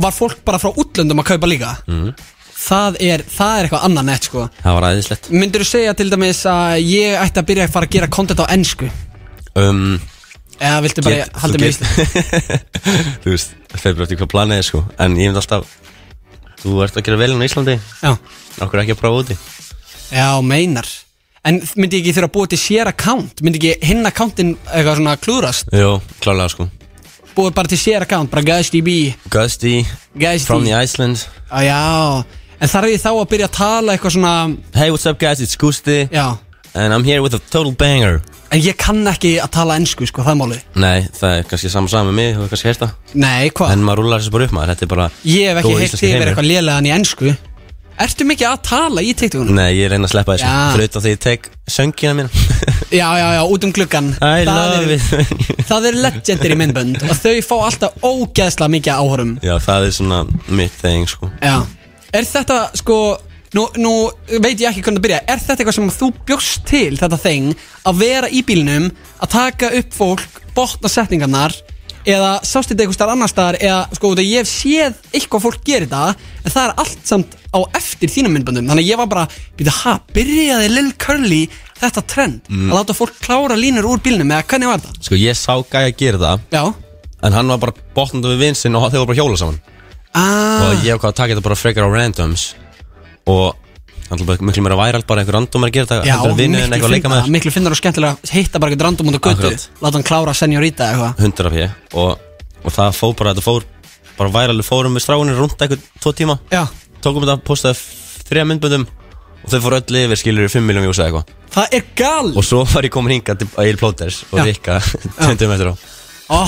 [SPEAKER 1] var fólk bara frá útlöndum að kaupa líka? Mm. það er, það er eitthvað annað nett sko
[SPEAKER 10] Mhm. Það var aðeinslegt
[SPEAKER 1] Myndirðu segja til dæmis að ég ætti að byrja að fara að gera content á ennsku
[SPEAKER 10] um,
[SPEAKER 1] Eða viltu bara
[SPEAKER 10] get-
[SPEAKER 1] halda
[SPEAKER 10] þú
[SPEAKER 1] mig í
[SPEAKER 10] get- Þú veist, það fer bara eftir hvað planið er sko En ég myndi alltaf Þú ert að gera vel hérna í Íslandi
[SPEAKER 1] Já
[SPEAKER 10] Okkur ekki að prófa úti
[SPEAKER 1] Já, meinar En myndi ég ekki þurfa að búa til sér account Myndi ekki hinn accountin eitthvað svona klúðrast
[SPEAKER 10] Jó, klálega sko
[SPEAKER 1] Búa bara til sér account, bara GuysDB
[SPEAKER 10] Gusty
[SPEAKER 1] Gusty.
[SPEAKER 10] From the Iceland
[SPEAKER 1] ah, Já, en þarf ég þá að byrja að tala eitthvað svona
[SPEAKER 10] Hey, what's up guys, it's Gusti
[SPEAKER 1] Já
[SPEAKER 10] And I'm here with a total banger
[SPEAKER 1] En ég kann ekki að tala ennsku, sko, það er máli
[SPEAKER 10] Nei, það er kannski saman saman með mig Þú hefur kannski heyrt það
[SPEAKER 1] Nei, hvað?
[SPEAKER 10] En maður rúlar þessu bara upp maður Þetta er bara
[SPEAKER 1] Ég hef ekki
[SPEAKER 10] góður
[SPEAKER 1] heilt
[SPEAKER 10] íslenski
[SPEAKER 1] þig
[SPEAKER 10] heimur.
[SPEAKER 1] verið eitthvað lélegan í ennsku Ertu mikið að tala í tiktokunum?
[SPEAKER 10] Nei, ég reyna að sleppa þessu
[SPEAKER 1] Já.
[SPEAKER 10] Fyrir utan því ég tek söngina mína
[SPEAKER 1] Já, já, já, út um gluggan
[SPEAKER 10] I
[SPEAKER 1] Það
[SPEAKER 10] love
[SPEAKER 1] eru-
[SPEAKER 10] it
[SPEAKER 1] Það er legendir í myndbönd Og þau fá alltaf ógeðslega mikið áhörum
[SPEAKER 10] Já, það er svona mitt þeging sko
[SPEAKER 1] Já Er þetta, sko Nú, nú veit ég ekki hvernig að byrja Er þetta eitthvað sem þú bjóst til, þetta þeng Að vera í bílnum Að taka upp fólk, botna setningarnar Eða sást þetta eitthvað starf annar staðar Eða, sko, út af ég hef séð Eitthvað fólk gerir þetta En það er allt samt á eftir þínum myndböndum Þannig að ég var bara, býta, ha, byrjaði Lil Curly þetta trend
[SPEAKER 10] Mm.
[SPEAKER 1] Að láta fólk klára línur úr bílnum Eða hvernig var það?
[SPEAKER 10] Sko, ég sá gæja að gera það
[SPEAKER 1] Já
[SPEAKER 10] En hann var bara botnandi við vinsinn og þeir voru bara að hjóla saman
[SPEAKER 1] Ah.
[SPEAKER 10] Og ég ákvað að taka þetta bara frekar á randoms Og hann er bara miklu meira væralt bara einhver random er að gera þetta
[SPEAKER 1] Já,
[SPEAKER 10] heldur en vinur en
[SPEAKER 1] miklu,
[SPEAKER 10] eitthvað að leika
[SPEAKER 1] finna,
[SPEAKER 10] með þér.
[SPEAKER 1] miklu finnar og skemmtilega að hitta bara eitthvað random út á götu
[SPEAKER 10] Akkurat.
[SPEAKER 1] láta hann klára senorita eða eitthvað
[SPEAKER 10] 100 af ég og, og það fór bara, þetta fór bara væralega fórum við stráinir rúnda eitthvað tvo tíma
[SPEAKER 1] Já.
[SPEAKER 10] tókum þetta, postaði þrjá myndböndum og þau fór öll yfir skilur í 5 miljón vjúsa eitthvað
[SPEAKER 1] Það er gal
[SPEAKER 10] og svo var ég komin hingað til Egil Plóters og
[SPEAKER 1] Já.
[SPEAKER 10] Rikka 20 metrar á
[SPEAKER 1] Ó,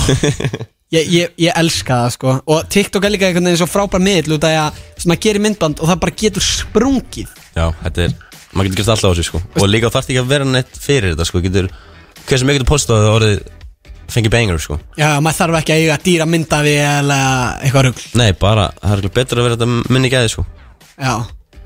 [SPEAKER 1] ég, ég, ég elska það sko og TikTok er líka einhvern veginn svo frábær miðl út af því að sem að gera myndband og það bara getur sprungið
[SPEAKER 10] já, þetta er, maður getur gert alltaf á þessu sko og líka þarf ekki að vera neitt fyrir þetta sko getur, hver sem ég getur postað og orðið fengið banger sko
[SPEAKER 1] Já, já, maður þarf ekki að eiga dýra myndavél eða eitthvað rugl
[SPEAKER 10] nei, bara, það er örugglega betra að vera þetta minni gæði sko
[SPEAKER 1] Já,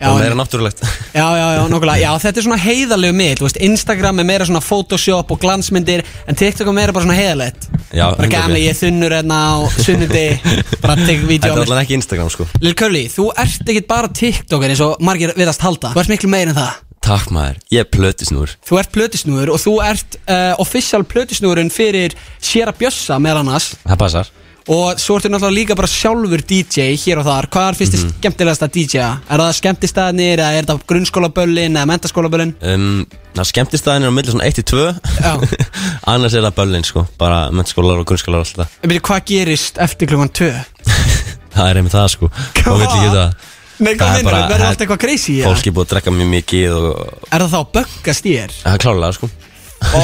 [SPEAKER 1] já,
[SPEAKER 10] og
[SPEAKER 1] en-
[SPEAKER 10] meira náttúrulegt
[SPEAKER 1] Já, já, já, nokkulega, já, þetta er svona heiðalegu miðl, þú veist, Instagram er meira svona Photoshop og glansmyndir, en TikTok er meira bara svona heiðalegt
[SPEAKER 10] Já,
[SPEAKER 1] Bara
[SPEAKER 10] 100%.
[SPEAKER 1] gæmi, ég er þunnur enna á sunnundi, bara tek
[SPEAKER 10] þetta
[SPEAKER 1] vídeo
[SPEAKER 10] er allan ekki Instagram sko
[SPEAKER 1] Lil Curly, þú ert ekkit bara TikToker eins og margir viðast halda Þú ert miklu meir en það
[SPEAKER 10] takk maður, ég er plötisnúr
[SPEAKER 1] Þú ert plötusnúður og þú ert uh, official plötusnúðurinn fyrir Sjera Bjössa meðal annars
[SPEAKER 10] það passar
[SPEAKER 1] Og svo ertu náttúrulega líka bara sjálfur DJ hér og þar Hvað er fyrst
[SPEAKER 10] Mhm.
[SPEAKER 1] mm skemmtilegasta DJ-a? Er það skemmtistaðnir eða er það grunnskólaböllin eða mentaskólaböllin?
[SPEAKER 10] um, Það skemmtist staðin er á milli svona 1-2 Annars er það böllin sko Bara mennskólar og grunnskólar og allt það
[SPEAKER 1] Ég veit, hvað gerist eftir klukkan 2?
[SPEAKER 10] Það er einmitt það sko Og vill ekki það
[SPEAKER 1] Nei, hvað
[SPEAKER 10] Það er
[SPEAKER 1] meinar
[SPEAKER 10] bara-
[SPEAKER 1] þú? Verður allt eitthvað crazy? eða?
[SPEAKER 10] Fólk er búið að drekka mjög mikið og
[SPEAKER 1] Er það þá að böggast í þér?
[SPEAKER 10] Það er klárlega sko
[SPEAKER 1] Ó,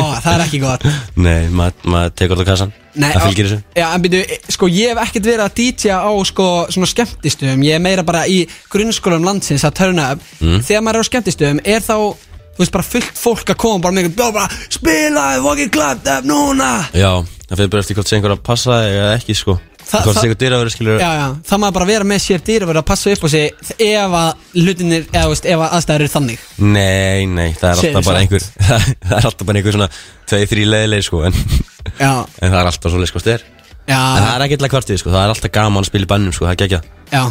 [SPEAKER 1] það er ekki gott
[SPEAKER 10] Nei, maður ma tekur þetta á kassan
[SPEAKER 1] Nei,
[SPEAKER 10] Það fylgir þessu
[SPEAKER 1] Já, en byrju, sko, ég hef ekkert verið að DJ-a á sko, svona skemmtistöðum Ég er meira bara í grunnskólum landsins að törna upp
[SPEAKER 10] Mm.
[SPEAKER 1] Þegar maður er á skemmtistöðum, er þá, þú veist, bara fullt fólk að koma Bara með einhvern, "Já, bara, spilaði, fucking clap up núna
[SPEAKER 10] Já, það fyrir bara eftir hvort sé einhver að passa þig eða ekki sko
[SPEAKER 1] Það-
[SPEAKER 10] Hvort
[SPEAKER 1] það-
[SPEAKER 10] sé einhver dyr að vera skilur
[SPEAKER 1] Já, já, það maður bara vera með sér dýr og vera að passa upp á sig Ef að hlutinir, eða, þú veist, ef að aðstæður eru þannig
[SPEAKER 10] Nei, nei, það er
[SPEAKER 1] Segðu
[SPEAKER 10] alltaf bara
[SPEAKER 1] satt.
[SPEAKER 10] einhver Það er alltaf bara einhver svona 2-3 leiðileg sko En,
[SPEAKER 1] Já,
[SPEAKER 10] en það er alltaf svo leið sko styr
[SPEAKER 1] já,
[SPEAKER 10] En það er ekki til að kvartið sko, það er alltaf gaman að spila í bannum sko, það er geggjað
[SPEAKER 1] já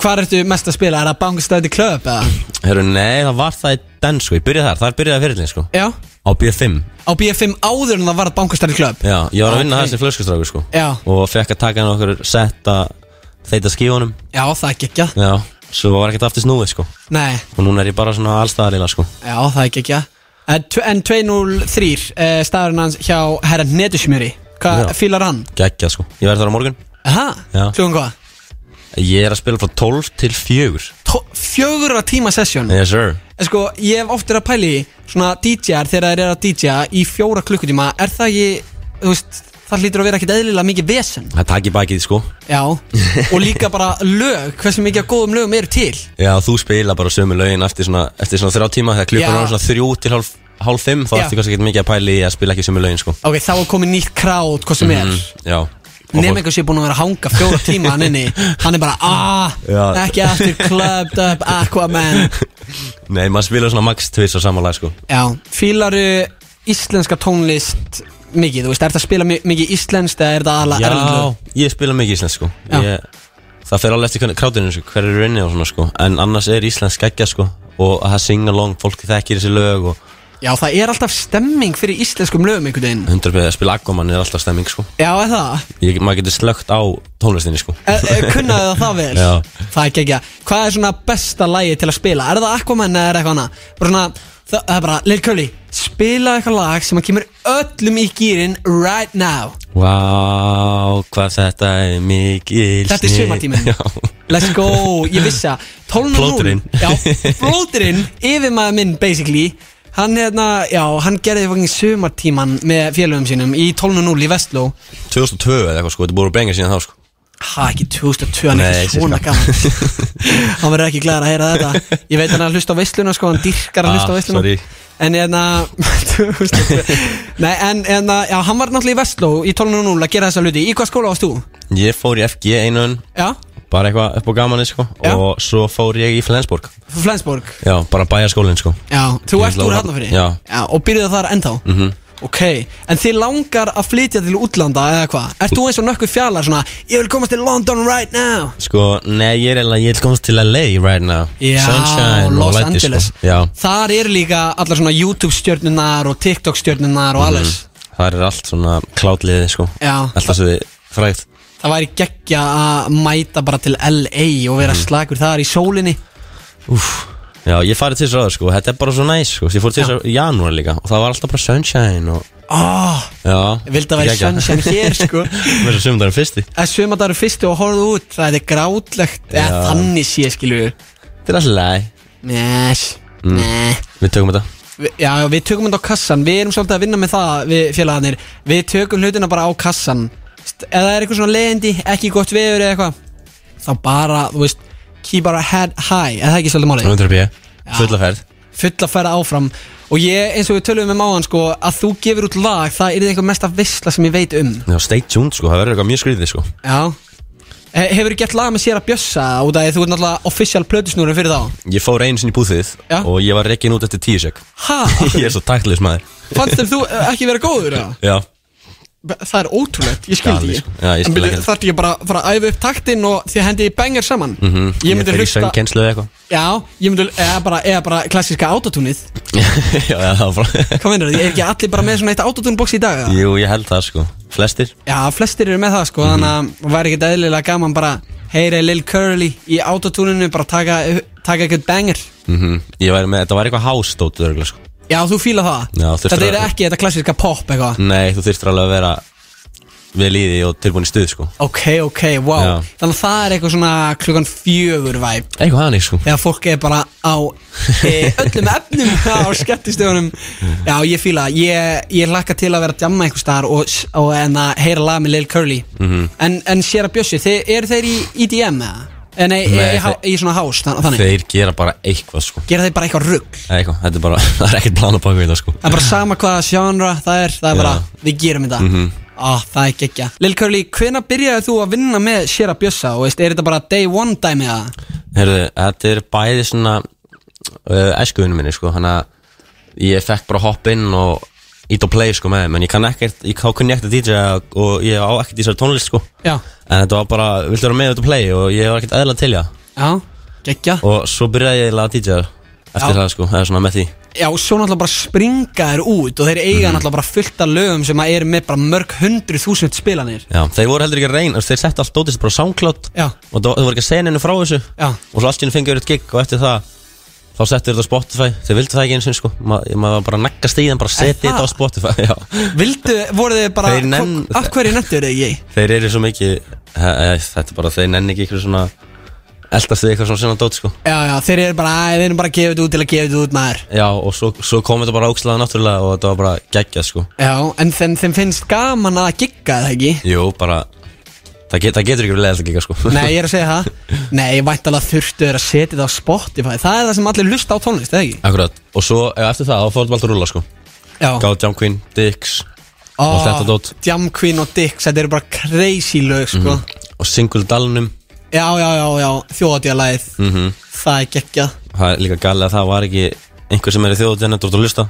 [SPEAKER 1] Hvar ertu mest að spila? Er það bankstæði klöp eða?
[SPEAKER 10] Herru, nei, það var það í den sko, ég byrjaði þar, þar byrjaði fyrirlin sko
[SPEAKER 1] Já,
[SPEAKER 10] Á B5
[SPEAKER 1] á BFM áður en það var bankstæði klöp
[SPEAKER 10] Já, ég var að vinna
[SPEAKER 1] Ok.
[SPEAKER 10] okay. þessi flöskustráku sko
[SPEAKER 1] Já.
[SPEAKER 10] Og fekk að taka hann okkur setta þeita skífunum
[SPEAKER 1] Já, það er geggjað
[SPEAKER 10] Já, svo var ekkert aftur snúið sko
[SPEAKER 1] Nei,
[SPEAKER 10] Og núna er ég bara svona allstaðarlega sko
[SPEAKER 1] Já, það er ekki ekki að En 203, uh, staðurinn hans hjá herra Netusmjöri Hvað
[SPEAKER 10] Já.
[SPEAKER 1] fílar hann?
[SPEAKER 10] Geggjað sko, ég verði þar á morgun
[SPEAKER 1] Aha,
[SPEAKER 10] Já.
[SPEAKER 1] klugan hvað?
[SPEAKER 10] Ég er að spila frá 12 til 4
[SPEAKER 1] Tó- Fjögurra tíma sesjón
[SPEAKER 10] Yes sir
[SPEAKER 1] En sko, ég hef oft verið að pæli Svona DJ-ar þegar þeir eru að DJ-a Í fjóra klukkutíma, er það ekki Þú veist, það hlýtur að vera ekkit eðlilega mikið vesen
[SPEAKER 10] Það takk í bakið sko
[SPEAKER 1] Já, og líka bara lög Hversu mikið af góðum lögum eru til
[SPEAKER 10] Já, þú spila bara sömu lögin eftir svona, eftir svona þrjá tíma Þegar klukkan
[SPEAKER 1] Já.
[SPEAKER 10] er svona þrjú til hálf, hálf fimm Þá
[SPEAKER 1] Já.
[SPEAKER 10] ertu kannski ekkert mikið að pæli að spila ekki sömu lögin sko
[SPEAKER 1] Ok, þá er komið nýtt krát, hvað sem er
[SPEAKER 10] Mhm, Já Og
[SPEAKER 1] Nefn
[SPEAKER 10] fólk-
[SPEAKER 1] einhvers ég er búin að vera að hanga fjóra tíma hann inni Hann er bara, aah,
[SPEAKER 10] Já.
[SPEAKER 1] ekki aftur Clubbed up, Aquaman
[SPEAKER 10] Nei, maður spila svona max tvis á samanlega sko
[SPEAKER 1] Já, fílaru íslenska tónlist mikið, þú veist, er það að spila mi- mikið íslenskt eða er það aðalega erlendu?
[SPEAKER 10] Já, ég spila mikið íslensk sko
[SPEAKER 1] Já.
[SPEAKER 10] ég, það fer alveg eftir hvernig krátinu sko, hver eru inni og svona sko en annars er Ísland skeggja sko og það singa long, fólk þekkir þessi lög og
[SPEAKER 1] Já, það er alltaf stemming fyrir íslenskum lögum einhvern veginn
[SPEAKER 10] 100% að spila aggoman er alltaf stemming sko
[SPEAKER 1] Já, er það?
[SPEAKER 10] ég, maður getur slögt á tónlistinni sko
[SPEAKER 1] E, e, kunnaði það það vel?
[SPEAKER 10] Já.
[SPEAKER 1] Það er geggja Hvað er svona besta lægi til að spila? Er það Aquaman eða er eitthvað annað? Bara svona, það, það er bara, Lil Curly Spila eitthvað lag sem að kemur öllum í gýrin right now
[SPEAKER 10] Vá, hvað þetta er mikil
[SPEAKER 1] Þetta er
[SPEAKER 10] snilld.
[SPEAKER 1] sumartíminn.
[SPEAKER 10] Já.
[SPEAKER 1] Let's go, ég vissi það 12
[SPEAKER 10] Plóturinn.
[SPEAKER 1] Já, plóturinn, yfirmaður minn basically Hann, hérna, já, hann gerði fucking sumartíman með félögum sínum í 12.0 í Vestló
[SPEAKER 10] 2002 eða eitthvað sko, þetta búið að benga síðan þá sko
[SPEAKER 1] Ha, ekki 2002, hann er
[SPEAKER 10] Nei,
[SPEAKER 1] ekki svona
[SPEAKER 10] sirka.
[SPEAKER 1] gaman Hann verður ekki glæður að heyra þetta Ég veit hann er að hlusta á veisluna, sko, hann dyrkar að
[SPEAKER 10] Ah,
[SPEAKER 1] hlusta á veisluna
[SPEAKER 10] sorry.
[SPEAKER 1] En hérna, 2002 Nei, en hérna, já, hann var náttúrulega í Vestló í 12.0 að gera þessa hluti Í hvað skóla varst þú?
[SPEAKER 10] Ég fór í FG einun,
[SPEAKER 1] Já,
[SPEAKER 10] bara eitthvað upp á gamani sko
[SPEAKER 1] Já.
[SPEAKER 10] og svo fór ég í Flensborg
[SPEAKER 1] frá Flensborg
[SPEAKER 10] Já, bara bæjarskólinn sko
[SPEAKER 1] Já, þú
[SPEAKER 10] Ég
[SPEAKER 1] ert
[SPEAKER 10] ætla
[SPEAKER 1] úr
[SPEAKER 10] að-
[SPEAKER 1] Hafnarfyrri
[SPEAKER 10] Já.
[SPEAKER 1] Og byrjuðu þar ennþá
[SPEAKER 10] Mhm.
[SPEAKER 1] Ok, en þið langar að flytja til útlanda eða hvað? Ert þú eins og nökkur fjallar svona Ég vil komast til London right now
[SPEAKER 10] Sko, nei, ég er eiginlega, ég vil komast til LA right now
[SPEAKER 1] Já,
[SPEAKER 10] Sunshine og
[SPEAKER 1] Los
[SPEAKER 10] læti,
[SPEAKER 1] Angeles.
[SPEAKER 10] sko. Já,
[SPEAKER 1] Þar eru líka allar svona YouTube stjörnunar og TikTok stjörnunar og alles
[SPEAKER 10] mm, það er allt svona klátliði sko
[SPEAKER 1] Já.
[SPEAKER 10] Alltaf sem við frægt
[SPEAKER 1] Það væri geggja að mæta bara til LA og vera
[SPEAKER 10] Mm.
[SPEAKER 1] slagur þar í sólinni
[SPEAKER 10] Já, ég farið til þessu áður sko, þetta er bara svo næs sko Ég fór til þessu í janúar líka og það var alltaf bara sunshine og
[SPEAKER 1] oh,
[SPEAKER 10] Já
[SPEAKER 1] Vildi að væri
[SPEAKER 10] geggjað.
[SPEAKER 1] sunshine hér sko
[SPEAKER 10] Mér er sömndarinn fyrsti
[SPEAKER 1] Að sömadagur fyrstu og horfðu út Það er grátlegt Eða
[SPEAKER 10] Já.
[SPEAKER 1] þannig sé skilju
[SPEAKER 10] Þetta er alltaf læg
[SPEAKER 1] Nes
[SPEAKER 10] Mm.
[SPEAKER 1] Nei.
[SPEAKER 10] Við tökum þetta
[SPEAKER 1] Vi- Já, við tökum þetta á kassan Við erum svolítið að vinna með það við félagarnir Við tökum hlutina bara á kassan St- Ef það er eitthvað svona leiðindi, ekki gott veður eða eitthvað Þá bara, þú veist Keep our head high, eða það er ekki svolítið málið
[SPEAKER 10] 100 bíja, fulla ferð
[SPEAKER 1] Full að færa áfram Og ég, eins og við töluðum um áðan sko Að þú gefur út lag, það er eitthvað mesta veisla sem ég veit um
[SPEAKER 10] Já, stay tuned sko, það verður eitthvað mjög skrítið sko
[SPEAKER 1] Já He- Hefurðu gert lag með sér að bjössa Út af því að þú ert náttúrulega official plötusnúrum fyrir þá
[SPEAKER 10] Ég fór einu sinni í búþið
[SPEAKER 1] Já.
[SPEAKER 10] og ég var reikin út eftir tíu sek
[SPEAKER 1] Ha,
[SPEAKER 10] Ég er svo taktlis maður
[SPEAKER 1] fannst þér þú eh, ekki vera góður eða?
[SPEAKER 10] Já,
[SPEAKER 1] Það er ótrúlegt, ég skildi
[SPEAKER 10] Galið,
[SPEAKER 1] ég
[SPEAKER 10] sko. Já, ég skil ekki heldur.
[SPEAKER 1] Þarf ég bara að fara að æfa upp taktinn og því hendi ég bengar saman
[SPEAKER 10] mm -hmm.
[SPEAKER 1] Ég myndi
[SPEAKER 10] fer í
[SPEAKER 1] hlusta-
[SPEAKER 10] söngkennslu eða eitthvað
[SPEAKER 1] Já, ég myndi, eða bara, eða bara klassíska autotúnið
[SPEAKER 10] Já, já, það var bara
[SPEAKER 1] Hvað meinar þið, er ekki allir bara með svona eitt autotúnbox í dag? eða?
[SPEAKER 10] Jú, ég held það sko Flestir
[SPEAKER 1] Já, flestir eru með það sko, þannig að væri ekkert eðlilega gaman bara Heyri Lil Curly í autotúninu, bara taka, taka eitthvað banger
[SPEAKER 10] mm Ég væri með, þetta var eitthvað hástótt örgulega sko
[SPEAKER 1] Já, þú fíla það?
[SPEAKER 10] Já, þurftir
[SPEAKER 1] Þetta
[SPEAKER 10] að-
[SPEAKER 1] er ekki þetta klassíska pop eitthvað
[SPEAKER 10] Nei, þú þurftir alveg að vera vel í því og tilbúin í stuð sko
[SPEAKER 1] Ok, ok, wow
[SPEAKER 10] Já.
[SPEAKER 1] Þannig að það er eitthvað svona klukkan fjögur væp
[SPEAKER 10] Eitthvað hannig sko
[SPEAKER 1] þegar fólk er bara á e, öllum efnum á skemmtistöðunum já ég fíla það. ég, ég laka til að vera að jamma einhvers staðar og, og en að heyra lag með Lil Curly
[SPEAKER 10] Mhm.
[SPEAKER 1] en, en sér að bjössi, þeir, eru þeir í EDM eða? Eh, Nei, nei
[SPEAKER 10] Nei,
[SPEAKER 1] í, há- í svona hás þannig,
[SPEAKER 10] Þeir gera bara eitthvað sko
[SPEAKER 1] gera þeir bara eitthvað rugg
[SPEAKER 10] Eitthvað, þetta er bara, það er ekkert plan á baku þetta sko
[SPEAKER 1] það er bara sama hvaða genre það er það er
[SPEAKER 10] Já.
[SPEAKER 1] bara, við gerum þetta
[SPEAKER 10] Mhm.
[SPEAKER 1] Á, það er geggja Lil Curly, hvena byrjaði þú að vinna með Shera Bjössa og veist, er þetta bara day one dæmi eða?
[SPEAKER 10] Herðu, þetta er bæði svona uh, æskuðinu minni sko Þannig að ég fekk bara hopp inn og ít og play sko með þeim En ég kann ekkert, ég kann kunni ekkert að DJ og- og ég á ekkert í þessari tónlist sko
[SPEAKER 1] Já.
[SPEAKER 10] En þetta var bara, viltu vera með ít og play og ég var ekkert eðla til já
[SPEAKER 1] Já, geggja
[SPEAKER 10] Og svo byrjaði ég að DJ eftir
[SPEAKER 1] Já.
[SPEAKER 10] það sko, eða svona með því
[SPEAKER 1] Já, svo náttúrulega bara springa þér út og þeir eiga náttúrulega bara fullt af lögum sem að eru með bara mörg hundru þúsund spilanir
[SPEAKER 10] Já, þeir voru heldur ekki að reyna, þú veist, þeir settu allt dótist bara á SoundCloud
[SPEAKER 1] Já.
[SPEAKER 10] og það- þau voru ekki að segja henni frá þessu
[SPEAKER 1] Já.
[SPEAKER 10] og svo allt í henni fengið verið gig og eftir það þá settu þeir þetta á Spotify, þeir vildu það ekki eins og sko, Ma- maður var bara að negga stíðan, bara seti
[SPEAKER 1] það?
[SPEAKER 10] þetta á Spotify Já.
[SPEAKER 1] Vildu, voru þið bara,
[SPEAKER 10] Þeir nenn-
[SPEAKER 1] af hverju nettur þið ekki?
[SPEAKER 10] Þeir eru svo mikið, he, he, þetta er bara, þeir nenni ekki ykkur svona, eldast þið eitthvað svona sinna dót sko
[SPEAKER 1] Já, já, þeir eru bara, "Æ, við erum bara að gefa þetta út til að gefa þetta út maður
[SPEAKER 10] Já, og svo, svo kom þetta bara ógslaða náttúrulega og þetta var bara geggjað sko
[SPEAKER 1] Já, en þeim, þeim finnst gaman að gigga það ekki
[SPEAKER 10] Jú, bara, það, get, það getur ekki verið leiðast að gigga sko
[SPEAKER 1] Nei, ég er að segja það Nei, væntalega þurftu þeir að setja það á Spotify Það er það sem allir lusta á tónlist, eða ekki?
[SPEAKER 10] Akkurat, og svo eh, eftir það, þá fór þetta bara að rúla sko
[SPEAKER 1] Já.
[SPEAKER 10] Gáð Jump Queen, Dix og þetta dót
[SPEAKER 1] Jam Queen og Dix, þetta eru bara crazy lög, sko
[SPEAKER 10] Mhm. Og Single Dalnum
[SPEAKER 1] Já, já, já, já, þjóðatjálæð
[SPEAKER 10] mm
[SPEAKER 1] Það er geggjað
[SPEAKER 10] Það er líka galið að það var ekki einhver sem er í þjóðutjáðan eftir að hlusta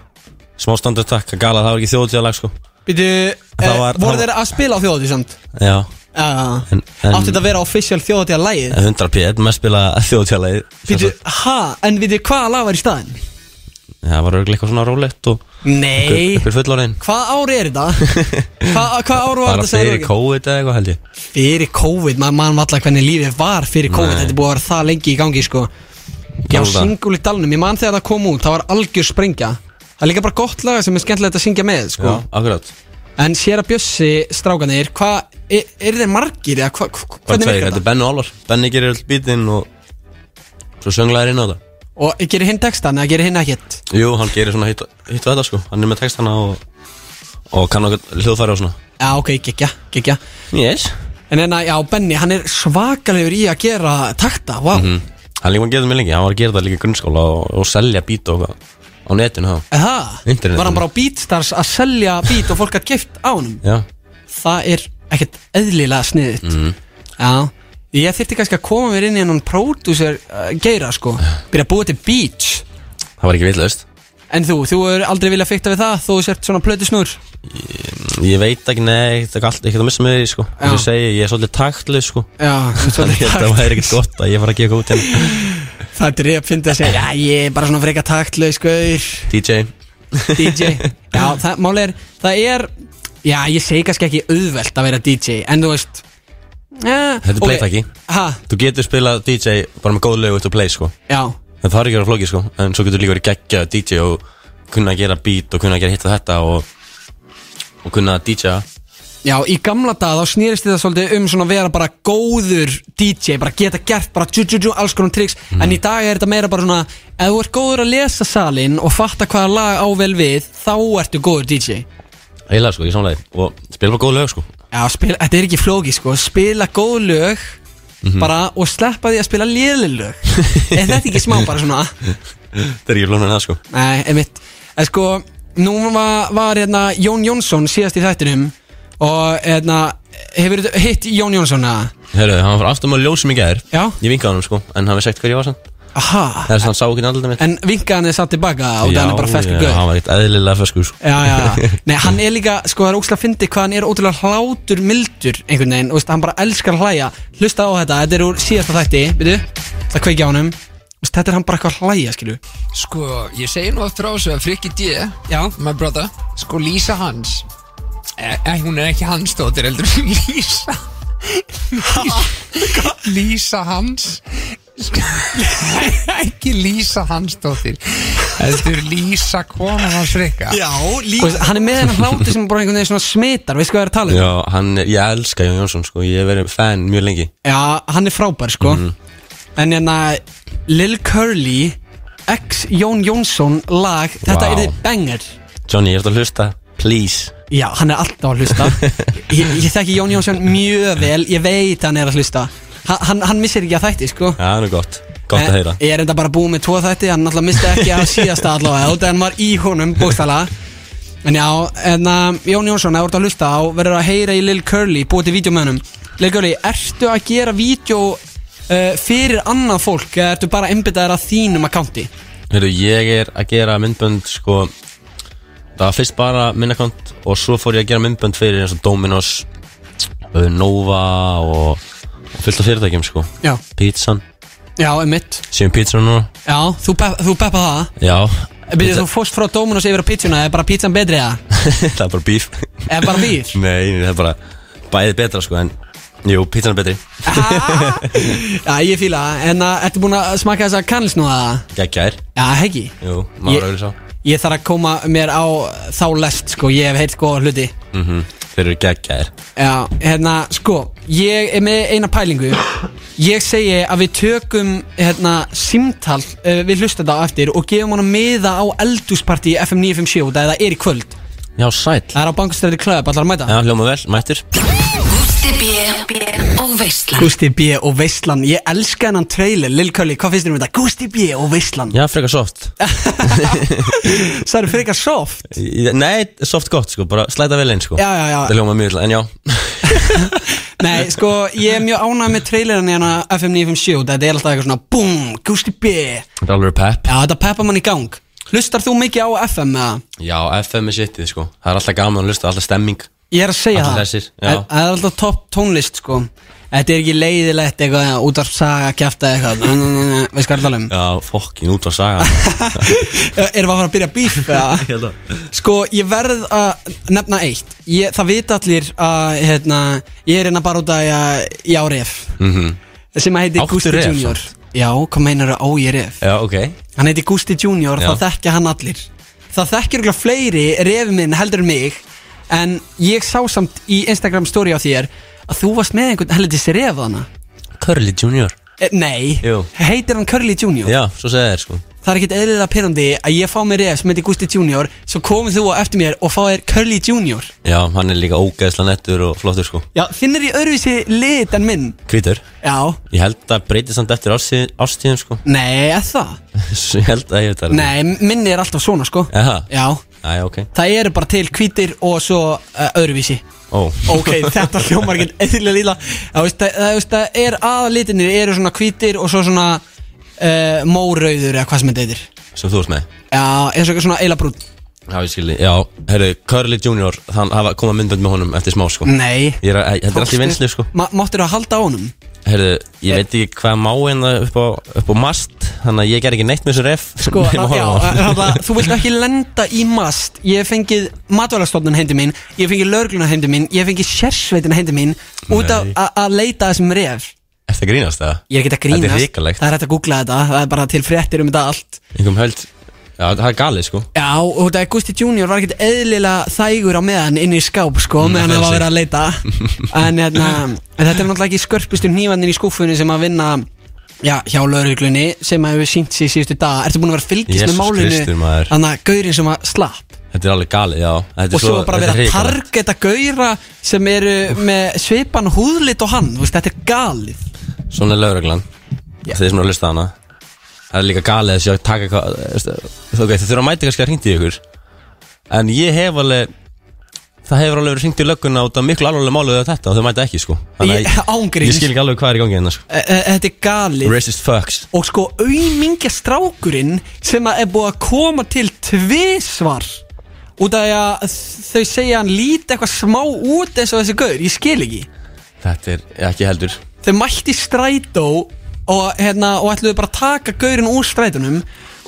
[SPEAKER 10] Smá standartakk, galið að það var ekki þjóðutjáðalag sko
[SPEAKER 1] Býtu, eh,
[SPEAKER 10] var-
[SPEAKER 1] voru
[SPEAKER 10] það-
[SPEAKER 1] þeir að spila á þjóðatíð samt?
[SPEAKER 10] Já,
[SPEAKER 1] Áttu
[SPEAKER 10] en-
[SPEAKER 1] þetta að vera official þjóðatíða lægið
[SPEAKER 10] 100 p, þetta er mest spila þjóðtjálegið
[SPEAKER 1] Býtu, ha, en við þið hvaða lag var í staðin?
[SPEAKER 10] Það var örglega eitthvað svona rólegt og
[SPEAKER 1] Nei.
[SPEAKER 10] Ykkur fullorinn
[SPEAKER 1] Hvað ári er þetta? Hvað hva ári var
[SPEAKER 10] Bara
[SPEAKER 1] þetta segir
[SPEAKER 10] fyrir
[SPEAKER 1] þú ekki?
[SPEAKER 10] COVID eða eitthvað held ég
[SPEAKER 1] Fyrir COVID, maður mann alltaf hvernig lífið var fyrir COVID
[SPEAKER 10] Nei.
[SPEAKER 1] Þetta er búið að vera það lengi í gangi sko Ég á
[SPEAKER 10] Alveg.
[SPEAKER 1] singul í dalnum, ég man þegar það kom út, það var algjör sprengja Það er líka bara gott laga sem er skemmtilegt að syngja með sko
[SPEAKER 10] Já, akkurat
[SPEAKER 1] En sér að bjössi strákanir, hvað, er, er þeir margir eða hva, hva,
[SPEAKER 10] Bara
[SPEAKER 1] hvernig
[SPEAKER 10] tveir, þetta
[SPEAKER 1] virkar þetta?
[SPEAKER 10] er Benni og Álvar Benni gerir all bítinn og Svo sönglaðir inn á þetta
[SPEAKER 1] Og gerir hinn textan eða gerir hinn ekkert?
[SPEAKER 10] Jú, hann gerir svona hitt hitt og þetta sko Hann er með textana og Og kann okkur hljóðfæri og svona
[SPEAKER 1] Já, ok, gekkja, gekkja
[SPEAKER 10] Yes
[SPEAKER 1] En enna, já, Benni, hann er svakalegur í að gera takta, vá wow. mm
[SPEAKER 10] Mhm. Hann líka var að gera það með lengi Hann var að gera það líka í grunnskóla Og, og selja bít og eitthvað Á netinu þá Internetinu.
[SPEAKER 1] Eh, Var hann bara á Beatstars að selja bít og fólk að geift á honum
[SPEAKER 10] Já
[SPEAKER 1] Það er ekkert eðlilega sniðut
[SPEAKER 10] Mhm.
[SPEAKER 1] Já, ég þyrfti kannski að koma mér inn í hennan pródúsir uh, geira, sko Byrja að búa til beach
[SPEAKER 10] Það var ekki vitlaust
[SPEAKER 1] En þú, þú er aldrei vilja fykta við það, þú sért svona plötusnur
[SPEAKER 10] Ég veit ekki, nei, það er allt ekkert að missa með því, sko Þess að segja, ég er svolítið taktlu, sko
[SPEAKER 1] Já,
[SPEAKER 10] Þannig að það væri ekkert gott að ég var að gefa út hérna
[SPEAKER 1] Það er ég að finna að segja, já, ég er bara svona freka taktlaus, gauður
[SPEAKER 10] DJ
[SPEAKER 1] DJ Já, það, máli er, það er Já, ég segi kannski ekki auðvelt að vera DJ En þú veist ja,
[SPEAKER 10] Þetta er playtaki
[SPEAKER 1] Ha,
[SPEAKER 10] Þú getur spilað DJ bara með góð lög út og play, sko
[SPEAKER 1] já,
[SPEAKER 10] En það er ekki að vera flóki, sko En svo getur líka verið geggja DJ og kunna að gera beat og kunna að gera hitta þetta og, og kunna að DJ
[SPEAKER 1] já, í gamla dag þá snýrist þetta svolítið um svona að vera bara góður DJ, bara geta gert bara tjú, tjú, tjú, alls konar triks En í dag er þetta meira bara svona Ef þú ert góður að lesa salin og fatta hvaða lag á vel við Þá ertu góður DJ
[SPEAKER 10] Eila, sko, ég samlega Og spila bara góð lög, sko
[SPEAKER 1] Já, spila, þetta er ekki flóki sko Spila góð lög
[SPEAKER 10] Mhm.
[SPEAKER 1] bara og sleppa því að spila liðlilög Er þetta ekki smá bara svona
[SPEAKER 10] Það er ekki flóna en það, sko
[SPEAKER 1] Nei, einmitt En sko, nú var, var hérna, Jón Jónsson síðast í þættinum Og hérna, hefur þú hitt Jón Jónsson að?
[SPEAKER 10] Herru, hann var aftur með ljósum í gær
[SPEAKER 1] Já
[SPEAKER 10] Ég vinkaði hann, sko En hann hefði sagt hver ég var sann
[SPEAKER 1] Aha
[SPEAKER 10] Þess að hann sá ekki andlita mitt
[SPEAKER 1] En vinkaðan er satt tilbaka og það er bara feskur
[SPEAKER 10] Já,
[SPEAKER 1] gauð
[SPEAKER 10] hann var eitt eðlilega feskur sko.
[SPEAKER 1] Já, já, já Nei, hann er líka, sko, það er ógslag að fyndi hvað hann er ótrúlega hlátur mildur einhvern veginn, og veist, hann bara elskar að hlæja Hlusta á þetta, þetta er úr síðasta þætti, byrju Það kveikja á honum Veist, Þetta er hann bara eitthvað að hlæja, skilju
[SPEAKER 11] Sko, ég segi nú eftir á þessu að Frikki D
[SPEAKER 1] Já
[SPEAKER 11] My brother Sko, Lísa hans eh, eh, Hún er ekki hans dóttir heldur Lísa Lísa hans Sko, Ekki Lísa hans dóttir Heldur Lísa konan hans Frikka
[SPEAKER 1] Já, Lísa Hann er með hennar hlátur sem bara einhvern veginn svona smitar, veist hvað það er að tala um?
[SPEAKER 10] Já, hann, er- ég elska Jón Jónsson sko. Ég hef verið fan mjög lengi
[SPEAKER 1] Já, hann er frábær sko
[SPEAKER 10] Mhm.
[SPEAKER 1] En hérna Lil Curly X Jón Jónsson lag Þetta
[SPEAKER 10] Vá.
[SPEAKER 1] er þið banger
[SPEAKER 10] Johnny, ég ert að hlusta, please
[SPEAKER 1] Já, hann er alltaf að hlusta ég, ég þekki Jón Jónsson mjög vel Ég veit hann er að hlusta ha, hann, hann missir ekki að þætti sko
[SPEAKER 10] Já, það er gott, gott að
[SPEAKER 1] En-
[SPEAKER 10] heyra
[SPEAKER 1] Eh, Ég er enda bara búið með tvo þætti Hann alltaf misti ekki að síðasta allavega Þannig að hann var í honum bókstala En já, en um, Jón Jónsson, ef þú ert að hlusta á Verður að heyra í Lil Curly, búið til vídeo með hennum Lil Curly, ertu að gera vídeo uh, Fyrir annað fólk Eða ertu bara einbyttaðir að þínum accounti
[SPEAKER 10] Heyrðu, ég er að gera myndbönd sko Það var fyrst bara minnakont Og svo fór ég að gera myndbönd fyrir eins og Dominos uh, Nova og, og fullt af fyrirtækjum sko
[SPEAKER 1] Já.
[SPEAKER 10] Pizzan,
[SPEAKER 1] Já, einmitt
[SPEAKER 10] séum pizzan núna
[SPEAKER 1] Já, þú, pe þú peppa það
[SPEAKER 10] Já,
[SPEAKER 1] Byrjuð þú fórst frá Dominos yfir á pizzuna Er bara pizzan betri eða?
[SPEAKER 10] það er bara bíf
[SPEAKER 1] Er bara bíf?
[SPEAKER 10] Nei, það er bara bæði betra sko En, jú, pizzan er betri
[SPEAKER 1] Já, ég fíla það. En uh, ertu búin að smaka þessa kannlis nú að
[SPEAKER 10] Gækjær,
[SPEAKER 1] Já, heggi
[SPEAKER 10] jú,
[SPEAKER 1] Ég-
[SPEAKER 10] maður auðvitað sá
[SPEAKER 1] Ég þarf að koma mér á þá lest sko, ég hef heilt góða hluti
[SPEAKER 10] mm Þeir eru geggjær
[SPEAKER 1] Já, hérna, sko, ég er með eina pælingu Ég segi að við tökum, hérna, simtal uh, Við hlustum þetta á eftir og gefum honum miða á eldúsparti FM 957 út að það er í kvöld
[SPEAKER 10] Já, sæl
[SPEAKER 1] Það er á bankustræði klöðab, allar að mæta
[SPEAKER 10] Já, hljóma vel, mættur
[SPEAKER 6] Gústi B og Veislan
[SPEAKER 1] Gústi B og Veislan, ég elska hennan trailer Lil Curly, hvað finnst þér um þetta? Gústi B og Veislan
[SPEAKER 10] Já, frekar soft
[SPEAKER 1] Það eru frekar soft
[SPEAKER 10] Nei, soft gott sko, bara slæta vel einn sko
[SPEAKER 1] Já, já, já.
[SPEAKER 10] Það hljóma mjög illa, en já
[SPEAKER 1] Nei, sko, ég er mjög ánægð með trailerin hérna FM 957 út að þetta er alltaf eitthvað svona Búm, Gústi B Já,
[SPEAKER 10] Þetta er alveg pepp
[SPEAKER 1] þetta peppa mann í gang Hlustar þú mikið á FM eða?
[SPEAKER 10] Já, FM er sittið sko Það er alltaf gaman að hlusta, alltaf stemming
[SPEAKER 1] Ég er að segja
[SPEAKER 10] Allir
[SPEAKER 1] það
[SPEAKER 10] þessir, já.
[SPEAKER 1] Það það er alltaf topp tónlist sko Þetta er ekki leiðilegt eitthvað útvarpsaga kjafta eitthvað Nú, nú, nú, nú, Veist hvað er talum
[SPEAKER 10] Já, fokkin út á saga
[SPEAKER 1] Erum við að fara að byrja bíf?
[SPEAKER 10] Ég held að-
[SPEAKER 1] Sko, ég verð að nefna eitt ég, Það vita allir að hérna, Ég er hérna bara út að ég, ég á ref
[SPEAKER 10] Mhm.
[SPEAKER 1] Sem að heiti
[SPEAKER 10] Áttu
[SPEAKER 1] Gusti
[SPEAKER 10] ref
[SPEAKER 1] Junior
[SPEAKER 10] samt?
[SPEAKER 1] Já, hvað meinar að ó ég ref?
[SPEAKER 10] Já, ok
[SPEAKER 1] Hann heiti Gusti Junior,
[SPEAKER 10] Já.
[SPEAKER 1] það þekkja hann allir Það þekkja ykkur fleiri refuminn heldur en mig En ég sá samt í Instagram story á þér Að þú varst með einhvern heldur þessi ref þarna
[SPEAKER 10] Curly Junior
[SPEAKER 1] Eh, Nei,
[SPEAKER 10] Jú.
[SPEAKER 1] heitir hann Curly Junior
[SPEAKER 10] Já, svo segir þér sko
[SPEAKER 1] Það er ekkert eðlilega pyrrandi að ég fá mér ref sem heitir Gusti Junior Svo komið þú á eftir mér og fá þér Curly Junior
[SPEAKER 10] Já, hann er líka ógeðsla nettur og flottur sko
[SPEAKER 1] Já, þinn er í öðruvísi lit en minn
[SPEAKER 10] Hvítur
[SPEAKER 1] Já,
[SPEAKER 10] Ég held að breytist samt eftir árstíð- árstíðum sko
[SPEAKER 1] nei, er það?
[SPEAKER 10] Svo Ég held að ég veit það
[SPEAKER 1] Nei, minni er alltaf svona sko
[SPEAKER 10] Jaha
[SPEAKER 1] Já,
[SPEAKER 10] Æ, ok
[SPEAKER 1] það eru bara til hvítir og svo uh, öðruvísi
[SPEAKER 10] Ó
[SPEAKER 1] Ok, þetta hljómar ekki eðlilega líla Það veist, það- það veist, það er aðalitinir eru svona hvítir og svo svona uh, mórauður eða hvað sem þetta heitir
[SPEAKER 10] Sem þú ert með
[SPEAKER 1] Já, eins og eitthvað svona eila brún
[SPEAKER 10] Já, ég skilji Já, herru, Curly Junior Hann hafa koma myndbönd með honum eftir smá sko
[SPEAKER 1] Nei.
[SPEAKER 10] Ég er að, ég- þetta er allt í vinslu sko
[SPEAKER 1] Ma Máttir að halda á honum?
[SPEAKER 10] Herru, ég veit ekki hvað má hérna upp á, upp á mast Þannig að ég ger ekki neitt með þessu ref
[SPEAKER 1] Sko,
[SPEAKER 10] nema
[SPEAKER 1] það, já,
[SPEAKER 10] horfa á hann.
[SPEAKER 1] það, það, þú vilt ekki lenda í mast Ég hef fengið matvælastofnun hendi mín Ég hef fengið lörgluna hendi mín Ég hef fengið sérsveitina hendi mín Út af
[SPEAKER 10] Nei.
[SPEAKER 1] að- að leita að þessum ref
[SPEAKER 10] Ertu að grínast það?
[SPEAKER 1] Ég er ekki að grínast
[SPEAKER 10] Þetta er hrikalegt
[SPEAKER 1] Það er hægt að googla þetta Það er bara til fréttir um þetta allt
[SPEAKER 10] Einhverjum höld Já, það er galið sko
[SPEAKER 1] Já, og þetta Gusti Junior var ekkert eðlilega þægur á meðan inn í skáp sko,
[SPEAKER 10] Mm,
[SPEAKER 1] meðan
[SPEAKER 10] það
[SPEAKER 1] það
[SPEAKER 10] er
[SPEAKER 1] var verið
[SPEAKER 10] sig.
[SPEAKER 1] að leita en hérna, en þetta er náttúrulega ekki skörpustu nývandin í skúfunni sem að vinna já, hjá lauruglunni sem að hefur sínt sig síðustu dag Ertu búin að vera að fylgist
[SPEAKER 10] Jesús
[SPEAKER 1] með
[SPEAKER 10] Kristur,
[SPEAKER 1] málinu
[SPEAKER 10] maður.
[SPEAKER 1] þannig að gaurin sem að slapp
[SPEAKER 10] Þetta er alveg galið, já Þetta er
[SPEAKER 1] og svo var bara
[SPEAKER 10] þetta
[SPEAKER 1] verið
[SPEAKER 10] er
[SPEAKER 1] að
[SPEAKER 10] hrikalegt.
[SPEAKER 1] targeta gaura sem eru með svipan húðlit og hann, þú veist, þetta er galið
[SPEAKER 10] Svona er lauruglan Þið er svona að hlusta á hana Það er líka galið þess að taka eitthvað þú veist, Þú veit, þið þurfa að mæta kannski að hringta í ykkur En ég hef alveg Það hefur alveg verið hringt í lögguna út af miklu alvarlega málu við þetta og þau mæta ekki sko
[SPEAKER 1] Ég- ángríns.
[SPEAKER 10] ég skil ekki alveg hvað er í gangi hérna sko
[SPEAKER 1] E- e- Þetta er galið
[SPEAKER 10] Racist fucks
[SPEAKER 1] og sko auðmingja strákurinn sem að er búið að koma til tvisvar út af því að þau segja að hann líti eitthvað smá út eins og þessi gaur, ég skil ekki
[SPEAKER 10] Þetta er ekki heldur
[SPEAKER 1] þau mætti í strætó og, hérna, og ætluðu bara að taka gaurin úr strætunum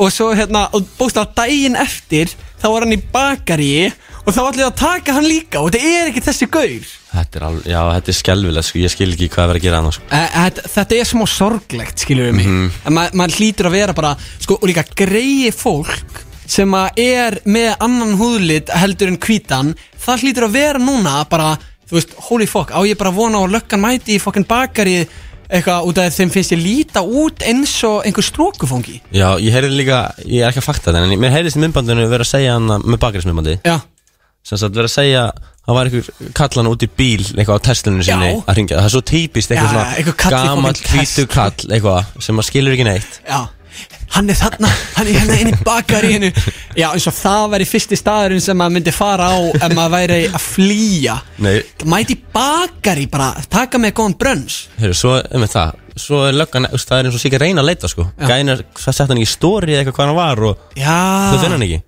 [SPEAKER 1] og svo hérna, og bókstaf daginn eftir þá var hann í bakaríi og þá ætluðu að taka hann líka og þetta er ekki þessi gaur
[SPEAKER 10] Þetta er alveg, já þetta er skelvilega sko Ég skil ekki hvað er verið að gera hana sko Mhm.
[SPEAKER 1] Eh, Þetta þetta er smá sorglegt, skilur við mig En ma maður hlýtur að vera bara sko, Og líka greiði fólk Sem að er með annan húðlit Heldur en hvítan Það hlýtur að vera núna bara Þú veist, holy fuck, á ég bara að vona á að löggan mæti Í fokkin bakari eitthvað Út af því að þeim finnst ég líta út eins og Einhver strókufangi
[SPEAKER 10] Já, ég heyrði líka, ég er ekki að fakta þetta En mér heyrðist í myndbandinu verið að segja hana með bakarinsmyndbandi
[SPEAKER 1] Já
[SPEAKER 10] sem sagt verið að segja það var einhver kallan út í bíl eitthvað á testlunum sinni
[SPEAKER 1] Já.
[SPEAKER 10] að ringja það er svo típist
[SPEAKER 1] Já,
[SPEAKER 10] eitthvað svona
[SPEAKER 1] einhver kall í
[SPEAKER 10] gammal
[SPEAKER 1] fucking
[SPEAKER 10] hvítur kall eitthvað sem maður skilur ekki neitt
[SPEAKER 1] Já, hann er þarna, hann er hérna inn í bakaríinu Já, eins og það væri fyrsti staðurinn sem maður myndi fara á ef maður væri að flýja
[SPEAKER 10] Nei.
[SPEAKER 1] Mæti bakarí bara, taka með góðan brönns
[SPEAKER 10] Heru, svo, um það, svo er löggan þú veist, það er eins og sé ekki að reyna að leita sko gæna, það sett hann ekki í stóri eða eitthvað hvað hann var og
[SPEAKER 1] Já
[SPEAKER 10] þau finna hann ekki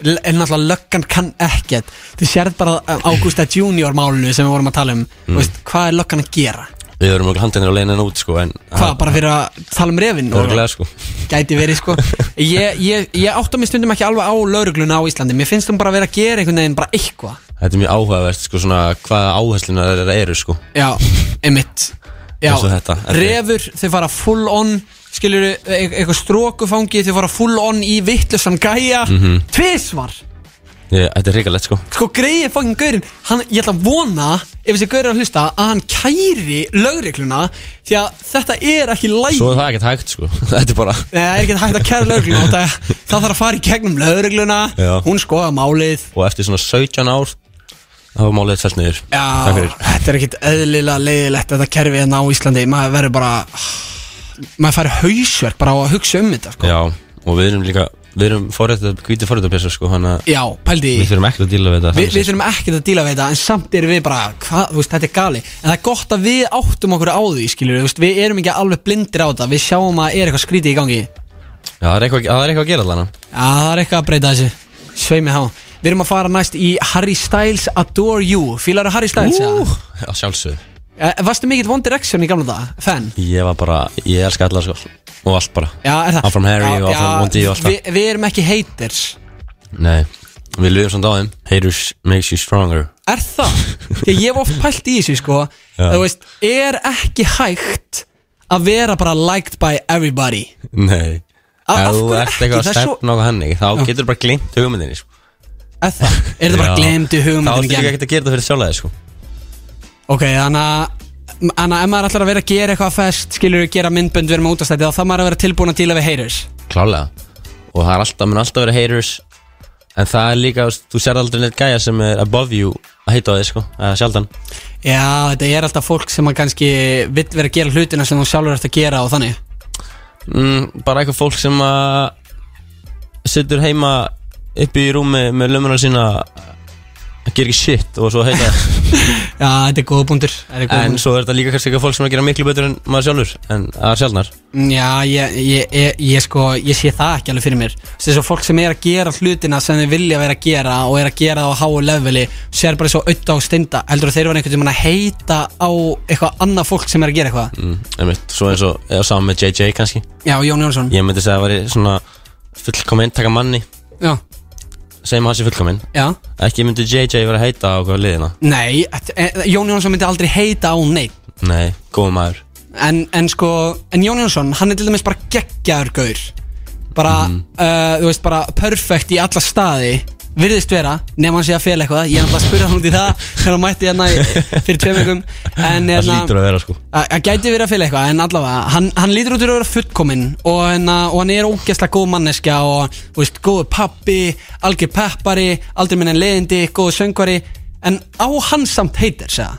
[SPEAKER 1] L- En náttúrulega löggan kann ekkert Þú sérð bara Ágústa Junior málinu sem við vorum að tala um mm. veist, Hvað er löggan að gera?
[SPEAKER 10] við vorum okkur handinir á leiðinu út sko en
[SPEAKER 1] Hvað, bara fyrir að tala um refin?
[SPEAKER 10] Örglega sko
[SPEAKER 1] Gæti verið sko Ég, ég, ég átta mig stundum ekki alveg á laurugluna á Íslandi Mér finnst hún bara vera að gera einhvern veginn bara eitthvað
[SPEAKER 10] Þetta er mjög áhugavert sko svona hvaða áhersluna þeirra eru sko
[SPEAKER 1] Já, emitt Já,
[SPEAKER 10] Eins og þetta, þetta er-
[SPEAKER 1] refur, þau fara full on skilur eitthvað strókufangi þau fara full on í vittlusan gæja
[SPEAKER 10] Mhm.
[SPEAKER 1] tvisvar
[SPEAKER 10] ég, Þetta er hrikalegt sko
[SPEAKER 1] sko greiði fangin gaurin hann, ég ætla að vona, ef þessi gaur er að hlusta að hann kæri lögregluna því að þetta er ekki læg
[SPEAKER 10] Svo er það ekkert hægt sko Þetta er bara
[SPEAKER 1] Nei, það er ekki hægt að kæra lögregluna það, það þarf að fara í gegnum lögregluna
[SPEAKER 10] Já.
[SPEAKER 1] hún skoða málið
[SPEAKER 10] og eftir svona 17 ár það var málið fælt niður
[SPEAKER 1] Já, þetta er ekkit eðlilega leiðilegt þetta kerfi hérna á Íslandi maður verður bara maður færi hausverk bara á að hugsa um þetta sko.
[SPEAKER 10] Já, og við erum líka við erum forrættið, hvítið forrættið sko, hann að
[SPEAKER 1] Já, pældi í-
[SPEAKER 10] við þurfum ekki að díla við þetta
[SPEAKER 1] Vi, við þurfum ekkert að díla við þetta en samt erum við bara, hva, þú veist, þetta er gali en það er gott að við áttum okkur á því skilur, við, veist, við erum ekki alveg blindir á þetta við sjáum að er eitthvað skrítið í gangi
[SPEAKER 10] Já,
[SPEAKER 1] Já,
[SPEAKER 10] það er eitthvað, það er eitthvað að gera allan
[SPEAKER 1] það er eitthvað að breyta þessu sveimi há Við erum að fara næst í Harry Styles Adore You Fílaru Harry Styles,
[SPEAKER 10] Ú,
[SPEAKER 1] uh.
[SPEAKER 10] að sjálfsögðu
[SPEAKER 1] ja? Varstu mikill One Direction í gamla dag, fan?
[SPEAKER 10] Ég var bara, ég elska allar sko Og allt bara
[SPEAKER 1] Já, er það?
[SPEAKER 10] Áfram Harry
[SPEAKER 1] Já,
[SPEAKER 10] og áfram
[SPEAKER 1] já,
[SPEAKER 10] Wondi og allt það
[SPEAKER 1] Við við erum ekki haters
[SPEAKER 10] Nei, við lögum samt á þeim Haters makes you stronger
[SPEAKER 1] Er það? Ég, ég hef oft pælt í þessu sko
[SPEAKER 10] Já.
[SPEAKER 1] Þú veist, er ekki hægt að vera bara liked by everybody
[SPEAKER 10] Nei
[SPEAKER 1] Af- af
[SPEAKER 10] Ef þú
[SPEAKER 1] hverju
[SPEAKER 10] ert
[SPEAKER 1] ekki?
[SPEAKER 10] eitthvað að
[SPEAKER 1] Það er svo-
[SPEAKER 10] stefna okkur hann ekki Þá
[SPEAKER 1] Já.
[SPEAKER 10] getur bara glimt hugmyndinni sko.
[SPEAKER 1] Er það? Er það bara
[SPEAKER 10] Já.
[SPEAKER 1] glemdu
[SPEAKER 10] Þá
[SPEAKER 1] hugmyndin
[SPEAKER 10] ætlir ekki ekkert að gera þetta fyrir sjálflega sko.
[SPEAKER 1] Ok, þannig að Þannig að ef maður ætlar að vera að gera eitthvað fest Skilur við gera myndbönd, við erum útastætti Þá þarf maður að vera tilbúin að díla við haters
[SPEAKER 10] Klálega Og það er alltaf, mun alltaf verið haters En það er líka, þú veist, þú sér aldrei neitt gæja sem er above you að heita á þig sko, eða sjaldan
[SPEAKER 1] Já, þetta er alltaf fólk sem að kannski Vill vera að gera hlutina sem þú sjálfur ert að gera Og þannig
[SPEAKER 10] mm, Bara eitthvað fólk sem að Sittur heima upp í rúmi með lömunar sína að gera ekki shit og svo heita
[SPEAKER 1] Já, þetta er góða búndur
[SPEAKER 10] En svo er þetta líka kannski eitthvað fólk sem er að gera miklu betur en maður sjálfur En það er sjaldnar
[SPEAKER 1] Mm, Já, ég, ég, ég, ég sko, ég sé það ekki alveg fyrir mér Þessi svo fólk sem er að gera hlutina sem þeir vilja vera að gera og er að gera það á háu leveli sér bara svo auðvitað og steinda heldur þeir vera einhvern veginn að heita á eitthvað annað fólk sem er að gera eitthvað
[SPEAKER 10] mm, einmitt, Svo eins og, eða saman með JJ kannski
[SPEAKER 1] Já, Jón Jónsson
[SPEAKER 10] Ég myndi segja að það væri svona fullkominn, taka manni
[SPEAKER 1] Já.
[SPEAKER 10] Segjum að það sé fullkominn
[SPEAKER 1] Já.
[SPEAKER 10] Ekki myndi JJ vera að heita á okkur liðina
[SPEAKER 1] Nei, et- e- Jón Jónsson myndi aldrei heita á neitt
[SPEAKER 10] Nei, góð maður
[SPEAKER 1] en, en sko, en Jón Jónsson, hann er til dæmis bara geggjaður gaur Bara,
[SPEAKER 10] Mhm.
[SPEAKER 1] uh, þú veist, bara perfect í alla staði Virðist vera, nema hann sé að fela eitthvað Ég er náttúrulega að spurða hann út í það Þegar hann mætti hérna í- fyrir tveim vikum En
[SPEAKER 10] Það
[SPEAKER 1] hérna,
[SPEAKER 10] lítur að vera sko
[SPEAKER 1] að að gæti verið að fela eitthvað En allavega, hann, hann lítur út fyrir að vera fullkominn Og, hérna, og hann er ógeðslega góð manneskja Og, þú veist, góðu pappi Algjör peppari, aldrei minn en leiðindi Góðu söngvari En á hann samt heitir, segja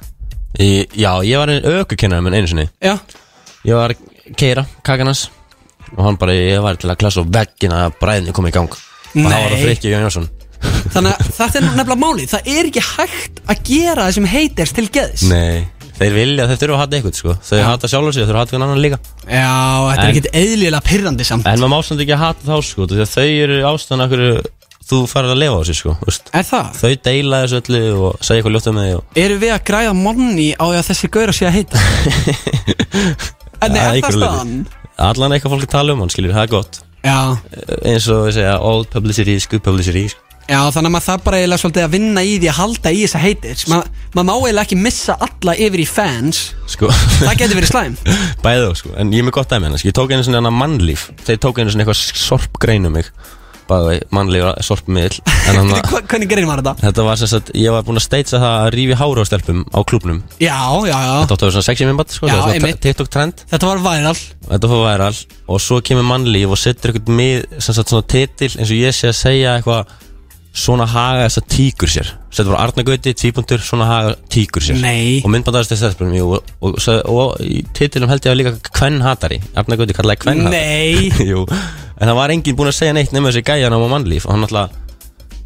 [SPEAKER 10] Í- Já, ég var einn ökukennar minn einu sinni
[SPEAKER 1] Já.
[SPEAKER 10] Ég var að keira kakanas Og hann bara, ég var til að klasa á veggin að bræðinu kom í gang Og það var
[SPEAKER 1] Nei.
[SPEAKER 10] það frikki Jón Jónsson
[SPEAKER 1] Þannig að þetta er nefnilega málið Það er ekki hægt að gera þessum haters til geðs
[SPEAKER 10] Nei, þeir vilja, þeir þurfa að hata eitthvað sko Þeir hata sjálfur sig, þeir þurfa að hata einhvern annan líka
[SPEAKER 1] Já, þetta er
[SPEAKER 10] En-
[SPEAKER 1] ekkit eðlilega pyrrandi samt
[SPEAKER 10] En maður má samt ekki að hata þá sko Því að þau eru ástæðan af hverju þú farir að lifa á sig sko veist.
[SPEAKER 1] Er það?
[SPEAKER 10] Þau deila þessu öllu og segja eitthvað ljótt um þig og...
[SPEAKER 1] Eru við að græða monni á því að þessi gaur að sé að heita? En
[SPEAKER 10] Að
[SPEAKER 1] nei, er það
[SPEAKER 10] einhverju leyti.
[SPEAKER 1] staðan?
[SPEAKER 10] Allan eitthvað fólk tala um hann skilur, það er gott Eh,
[SPEAKER 1] Já.
[SPEAKER 10] Eins og við segja, old publicity is good publicity sko.
[SPEAKER 1] Já, þannig að maður það bara eiginlega svolítið að vinna í því að halda í þessa haters Ma, Maður má eiginlega ekki missa alla yfir í fans
[SPEAKER 10] Sko.
[SPEAKER 1] Það getur verið slæm
[SPEAKER 10] Bæði og sko, en ég er með gott dæmi hennar Ég tók einu sinni hann mannlíf Þeir tók einu sinni eitthvað sorpgrein um mig Bæði, mannlíf er sorpmiðl En hann
[SPEAKER 1] Hva- Hvernig gerir maður þetta?
[SPEAKER 10] Þetta var sem sagt, ég var búinn að steitsa það að rífi hára á stelpum á klubnum
[SPEAKER 1] Já, já, já
[SPEAKER 10] Þetta áttu að vera svona sexy minnbatt, sko,
[SPEAKER 1] Já,
[SPEAKER 10] það var svona
[SPEAKER 1] einmitt.
[SPEAKER 10] TikTok trend
[SPEAKER 1] Þetta var væral
[SPEAKER 10] Þetta fór væral og svo kemur mannlíf og setur eitthvað mið, sem sagt svona titil eins og ég sé að segja eitthvað Svona haga þess að tíkur sér Þetta var Arnagöti, tvípundur, svona haga tíkur sér
[SPEAKER 1] Nei.
[SPEAKER 10] Og myndbandaðist þess stelpum, jú Og, og, og, og í titilum held ég að líka kvenn hatari Arnagöti kallaði kvenn
[SPEAKER 1] Nei.
[SPEAKER 10] Jú, en það var enginn búinn að segja neitt nema þessi gæjan á mannlíf Og hann alltaf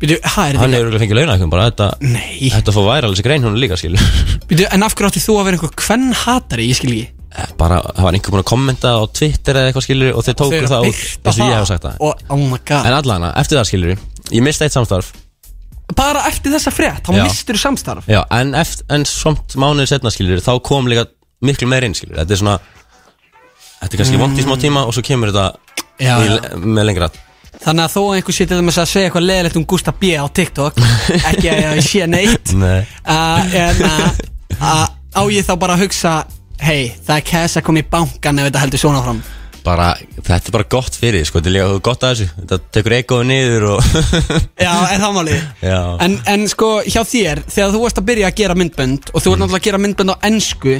[SPEAKER 1] Býtu, ha, er þetta
[SPEAKER 10] Hann hefur örugglega fengið launahækkun bara þetta
[SPEAKER 1] Nei
[SPEAKER 10] Þetta fór væral þessi grein hún líka skil
[SPEAKER 1] Býtu, en af hverju átti þú að vera einhver hvern hatari? Ég skil ekki
[SPEAKER 10] Bara, það var einhver búinn að kommenta á Twitter eða eitthvað skilur Og þeir
[SPEAKER 1] Þau eru
[SPEAKER 10] tóku
[SPEAKER 1] að
[SPEAKER 10] það út
[SPEAKER 1] birta
[SPEAKER 10] eins og ég
[SPEAKER 1] það.
[SPEAKER 10] hef sagt það
[SPEAKER 1] Og, oh my god
[SPEAKER 10] En allan, eftir það skilur Ég misti eitt samstarf
[SPEAKER 1] Bara eftir þessa frétt, þá
[SPEAKER 10] Já.
[SPEAKER 1] mistur samstarf
[SPEAKER 10] Já, en, eft, en somt mánuðið setna skilur Þá kom líka miklu meir inn skilur Þetta er svona Þetta er kannski
[SPEAKER 1] Mm.
[SPEAKER 10] mm. vond í smá tíma og svo kemur þetta
[SPEAKER 1] Já,
[SPEAKER 10] í,
[SPEAKER 1] já.
[SPEAKER 10] Með lengra
[SPEAKER 1] Þannig að þó að einhver sé til dæmis að segja eitthvað leðilegt um Gustaf B á TikTok Ekki að ég sé neitt
[SPEAKER 10] Nei
[SPEAKER 1] uh, En að að á ég þá bara að hugsa Hei, það er kæs að koma í bankan ef þetta heldur svona fram
[SPEAKER 10] bara, Þetta er bara gott fyrir þig, sko, Þetta er líka gott að þessu Þetta tekur eikoðu niður og
[SPEAKER 1] Já, er það málið
[SPEAKER 10] Já
[SPEAKER 1] en, en sko, hjá þér, þegar þú varst að byrja að gera myndbönd Og
[SPEAKER 10] Mm.
[SPEAKER 1] þú ert náttúrulega að gera myndbönd á ensku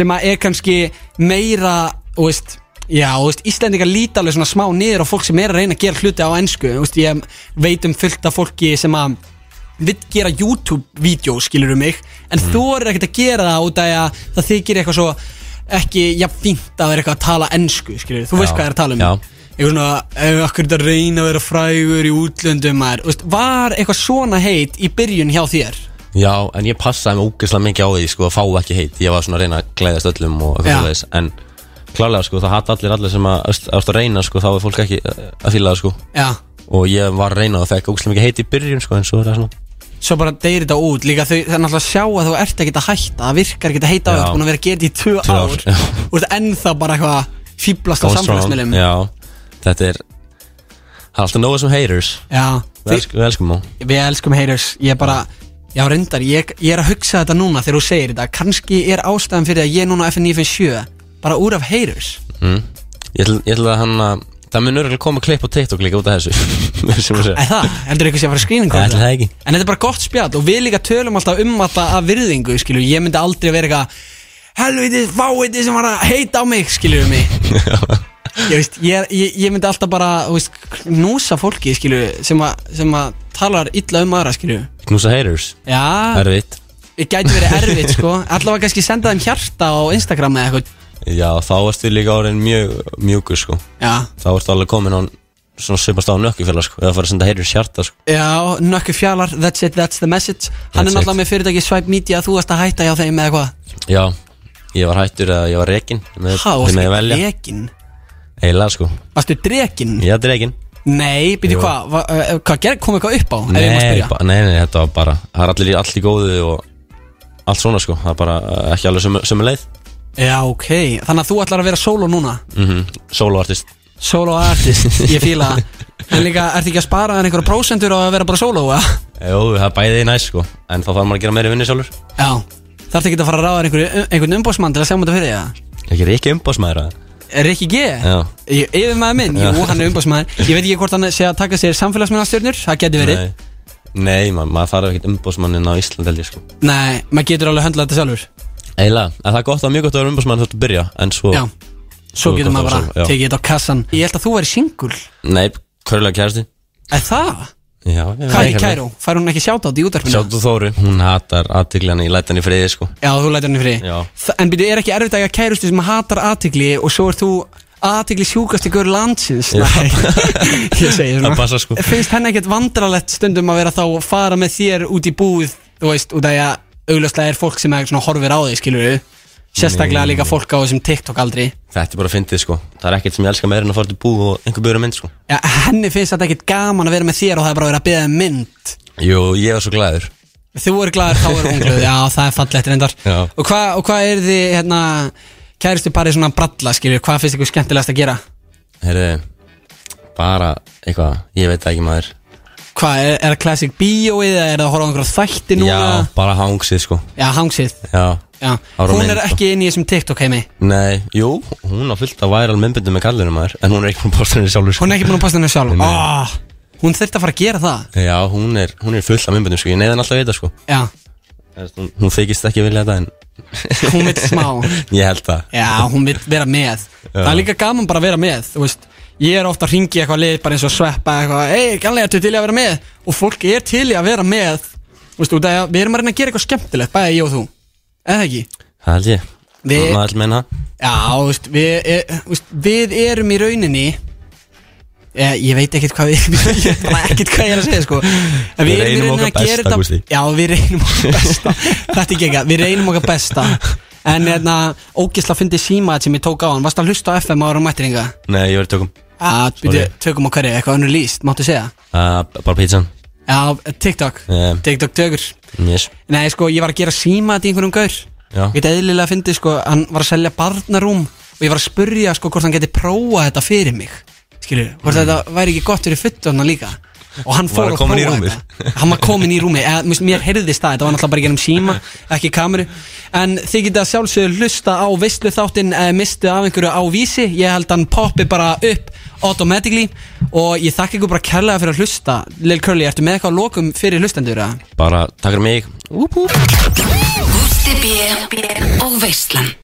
[SPEAKER 1] Sem að er kannski meira, þú veist Já, þú veist, Íslendingar líta alveg svona smá niður á fólk sem er að reyna að gera hluti á ensku Þú veist, ég veit um fullt af fólki sem að vill gera YouTube-vídeó, skilur um mig En
[SPEAKER 10] Mm.
[SPEAKER 1] þú er ekkert að gera það út af að það þykir eitthvað svo ekki jafn fínt að vera eitthvað að tala ensku, skilur Þú veist
[SPEAKER 10] Já,
[SPEAKER 1] hvað ég er að tala um
[SPEAKER 10] já.
[SPEAKER 1] eitthvað svona, ef okkur þetta reyna að vera frægur í útlöndum maður, Þú veist, var eitthvað svona heit í byrjun hjá þér?
[SPEAKER 10] Já, en ég passaði mig ógeðslega mikið á því sko, að fá ekki heit, ég var svona að reyna að glæðast öllum og
[SPEAKER 1] Já.
[SPEAKER 10] eitthvað svoleiðis, en klálega sko, það hatt allir allir sem að ert að reyna sko, þá er fólk ekki eh, að fýla það sko
[SPEAKER 1] Já,
[SPEAKER 10] og ég var að reyna og fekk ógslum ekki heiti í byrjun sko, en svo er það svona
[SPEAKER 1] Svo bara deyri þetta út Líka þau, það er náttúrulega að sjá að þú ert ekki að hætta Það virkar ekki að heita á
[SPEAKER 10] Já.
[SPEAKER 1] þetta Búin að vera að geta í tvö
[SPEAKER 10] Tvö ár,
[SPEAKER 1] ár Þú veist ennþá bara eitthvað Fýblast á
[SPEAKER 10] Go
[SPEAKER 1] samfélagsmiðlum
[SPEAKER 10] Já, þetta er það er alltaf nóga sem haters
[SPEAKER 1] Já.
[SPEAKER 10] Við elskum, við elskum á
[SPEAKER 1] Við elskum haters Ég er bara Já reyndar, ég, ég er að hugsa þetta núna þegar þú segir þetta Kanski er ástæðan fyrir að ég er núna á FN957 Bara úr af haters
[SPEAKER 10] mm. Ég ætla- ég ætla að hann að það mun örgulega koma klipp á TikTok líka út af þessu sem að segja.
[SPEAKER 1] Er það? Heldur eitthvað sé að fara að skrýning
[SPEAKER 10] Ég ætla það ekki
[SPEAKER 1] En þetta er bara gott spjall og við líka tölum alltaf um alltaf að virðingu, skilju Ég myndi aldrei vera eitthvað Helvitið fáiði sem var að heita á mig, skilju mig Ég veist, ég, ég, ég myndi alltaf bara, þú veist, knúsa fólki, skilju Sem að, sem að talar illa um aðra, skilju
[SPEAKER 10] Knúsa haters
[SPEAKER 1] Já.
[SPEAKER 10] Erfitt
[SPEAKER 1] Ég gæti verið erfitt, sko Allavega kannski senda þeim hjarta á Instagram eða eitthvað
[SPEAKER 10] Já, þá ertu líka orðin mjög mjúkur sko
[SPEAKER 1] Já.
[SPEAKER 10] Þá ertu alveg komin á svona svipast á nökkufjöla sko eða fara að senda haters hjarta sko
[SPEAKER 1] Já, nökku fjalar, that's it, that's the message Hann
[SPEAKER 10] That's
[SPEAKER 1] er náttúrulega með fyrirtæki Swipe Media, þú varst að hætta hjá þeim eða hvað
[SPEAKER 10] Já, ég var hættur að ég var rekin með,
[SPEAKER 1] Há,
[SPEAKER 10] með
[SPEAKER 1] varstu
[SPEAKER 10] að velja
[SPEAKER 1] dregin?
[SPEAKER 10] Eiginlega sko
[SPEAKER 1] Varstu dregin?
[SPEAKER 10] Já, drekin
[SPEAKER 1] Nei, byrju
[SPEAKER 10] Jú.
[SPEAKER 1] hvað, va- eh, hvað gerð- kom eitthvað upp á? ef ég má
[SPEAKER 10] nei,
[SPEAKER 1] spyrja?
[SPEAKER 10] ba- nei, nei, þetta var bara Það er allir í allt í góðu og allt svona sko Það er bara eh, ekki alveg sömu, sömu leið
[SPEAKER 1] Já, ok, þannig að þú ætlar að vera solo núna
[SPEAKER 10] mm Solo artist
[SPEAKER 1] Solo artist, ég fíla það En líka, ertu ekki að spara þér einhverja prósentur og að vera bara solo, eða?
[SPEAKER 10] Jú, það er bæðið næst sko En þá þarf maður að gera meiri vinni sjálfur
[SPEAKER 1] Já, þarftu ekki að fara að ráða þér einhverju- eh, einhvern umbósmann til að sjá um þetta fyrir þig,
[SPEAKER 10] Ekki reiki umbásmaður að
[SPEAKER 1] eða? Rikki G?
[SPEAKER 10] Já
[SPEAKER 1] Ég- Yfirmaður minn, jú,
[SPEAKER 10] Já.
[SPEAKER 1] hann er umbósmaður Ég veit ekki hvort hann sé að taka sér samfélagsmiðastjörnur, það geti verið
[SPEAKER 10] Nei, nei ma maður þarf ekkert umbásmannin á Ísland held ég sko
[SPEAKER 1] Nei, maður getur alveg að höndla þetta sjálfur
[SPEAKER 10] Eiginlega, en það er gott að mjög gott að vera umbásmann þurftu að byrja En svo
[SPEAKER 1] Já. Svo getur
[SPEAKER 10] gott
[SPEAKER 1] maður
[SPEAKER 10] að vera
[SPEAKER 1] bara
[SPEAKER 10] solo, já.
[SPEAKER 1] tekið þetta á kassan Ég held að þú væri singul
[SPEAKER 10] Nei, körlega kærasti
[SPEAKER 1] Er það?
[SPEAKER 10] Já,
[SPEAKER 1] Hvað er Kæró? Fær hún ekki sjátt á þetta í útverfinu?
[SPEAKER 10] Sjáttu Þóru, hún hatar aðtigljana í lætan í friði sko
[SPEAKER 1] Já, þú lætur henni fri
[SPEAKER 10] Já.
[SPEAKER 1] Þa- En byrju, er ekki erfitt að eiga kærustu sem hatar aðtigli og svo er þú aðtigli sjúkast í gaur landsins
[SPEAKER 10] Já.
[SPEAKER 1] Nei, ég segi svona
[SPEAKER 10] Það passa, sko.
[SPEAKER 1] Finnst henni ekkert vandralett stundum að vera þá að fara með þér út í búið þú veist, út af því að augljóslega er fólk sem er svona horfir á þig, skilur Sérstaklega
[SPEAKER 10] Nei.
[SPEAKER 1] líka fólk á þessum TikTok aldrei
[SPEAKER 10] Þetta er bara fyndið sko Það er ekkert sem ég elska meira en að fara til bú og einhver byrja mynd sko
[SPEAKER 1] Já, henni finnst þetta ekkert gaman að vera með þér og það er bara að vera að beða um mynd
[SPEAKER 10] Jú, ég var svo glæður
[SPEAKER 1] Þú eru glæður, þá eru hún glöð Já, það er fallegt reyndar
[SPEAKER 10] Já.
[SPEAKER 1] Og hvað og hvað er þið, hérna Kæristu parið svona bralla, skilur Hvað finnst ykkur skemmtilegast að gera?
[SPEAKER 10] Herðu, bara eitthvað, ég veit það ekki maður
[SPEAKER 1] Hvað, er, er það classic bíóið eða er það að horfa á einhverja þætti núna?
[SPEAKER 10] Já, bara hangsið sko
[SPEAKER 1] Já, hangsið
[SPEAKER 10] Já,
[SPEAKER 1] Já,
[SPEAKER 10] Ára
[SPEAKER 1] hún
[SPEAKER 10] mynd
[SPEAKER 1] er
[SPEAKER 10] og-
[SPEAKER 1] ekki inn í þessum TikTok heimi
[SPEAKER 10] Nei, jú, hún á fullt af væral myndbindum með kallinu maður En hún er ekki búin að posta henni sjálfur sko.
[SPEAKER 1] Hún er ekki búin að passa henni sjálf
[SPEAKER 10] Nei.
[SPEAKER 1] oh, Hún þurfti að fara að gera það
[SPEAKER 10] Já, hún er, hún er fullt af myndbindum sko, ég neyðan alltaf við það sko
[SPEAKER 1] Já,
[SPEAKER 10] Þú veist, Hún, hún þykist ekki vilja þetta en
[SPEAKER 1] hún vill smá
[SPEAKER 10] Ég held það
[SPEAKER 1] Já, hún vill vera með Það er líka gaman bara að vera með Þú veist, ég er ofta að ringi eitthvað lið bara eins og sveppa eitthvað Ei, kannlega ertu til í að vera með Og fólk er til í að vera með Þú veist, út af því að við erum að reyna að gera eitthvað skemmtilegt Bæði ég og þú, eða ekki?
[SPEAKER 10] Það held ég
[SPEAKER 1] Við-
[SPEAKER 10] Maður vil meina það.
[SPEAKER 1] Já, þú veist, við, er, þú veist, við erum í rauninni Ég, ég veit ekkert hvað við erum Ég veit bara ekkert hvað ég er að segja sko En
[SPEAKER 10] Við
[SPEAKER 1] í
[SPEAKER 10] reynum
[SPEAKER 1] rauninni
[SPEAKER 10] okkar
[SPEAKER 1] að gera
[SPEAKER 10] besta,
[SPEAKER 1] þetta-
[SPEAKER 10] Gústi.
[SPEAKER 1] Já, við reynum okkar besta Þetta er gegga, við reynum okkar besta En hérna, ógisla fyndi símaðið sem ég tók á hann Varst að hlusta á FM ára mættiringa?
[SPEAKER 10] Nei, ég verið tökum
[SPEAKER 1] Já,
[SPEAKER 10] Sorry.
[SPEAKER 1] byrju, tökum á hverju, eitthvað önnur líst, máttu segja
[SPEAKER 10] uh, Bara pizzan
[SPEAKER 1] Já, TikTok,
[SPEAKER 10] um,
[SPEAKER 1] TikTok tökur
[SPEAKER 10] Yes
[SPEAKER 1] Nei, sko, ég var að gera símaðið í einhverjum gaur
[SPEAKER 10] Já
[SPEAKER 1] Ég get eðlilega að fyndi sko, hann var að selja barnarúm og ég var að spurja sko hvort hann geti prófa þetta fyrir mig skilur, hvort þetta væri ekki gott fyrir futtona líka og hann
[SPEAKER 10] Var
[SPEAKER 1] fór
[SPEAKER 10] hann
[SPEAKER 1] að
[SPEAKER 10] kominn í
[SPEAKER 1] prófa
[SPEAKER 10] rúmið?
[SPEAKER 1] þetta hann var komin í rúmi, eða, þú veist, mér heyrðist það þetta var náttúrulega bara gerum síma, ekki kameru en þið geta sjálfsögur hlusta á veistlu þáttinn, eh, mistu af einhverju á vísi ég held hann poppi bara upp automatically og ég þakka ykkur bara kærlega fyrir að hlusta, Lil Curly, ertu með eitthvað að lokum fyrir hlustendur að?
[SPEAKER 10] Bara takk fyrir mig
[SPEAKER 6] Gústi B og Veislan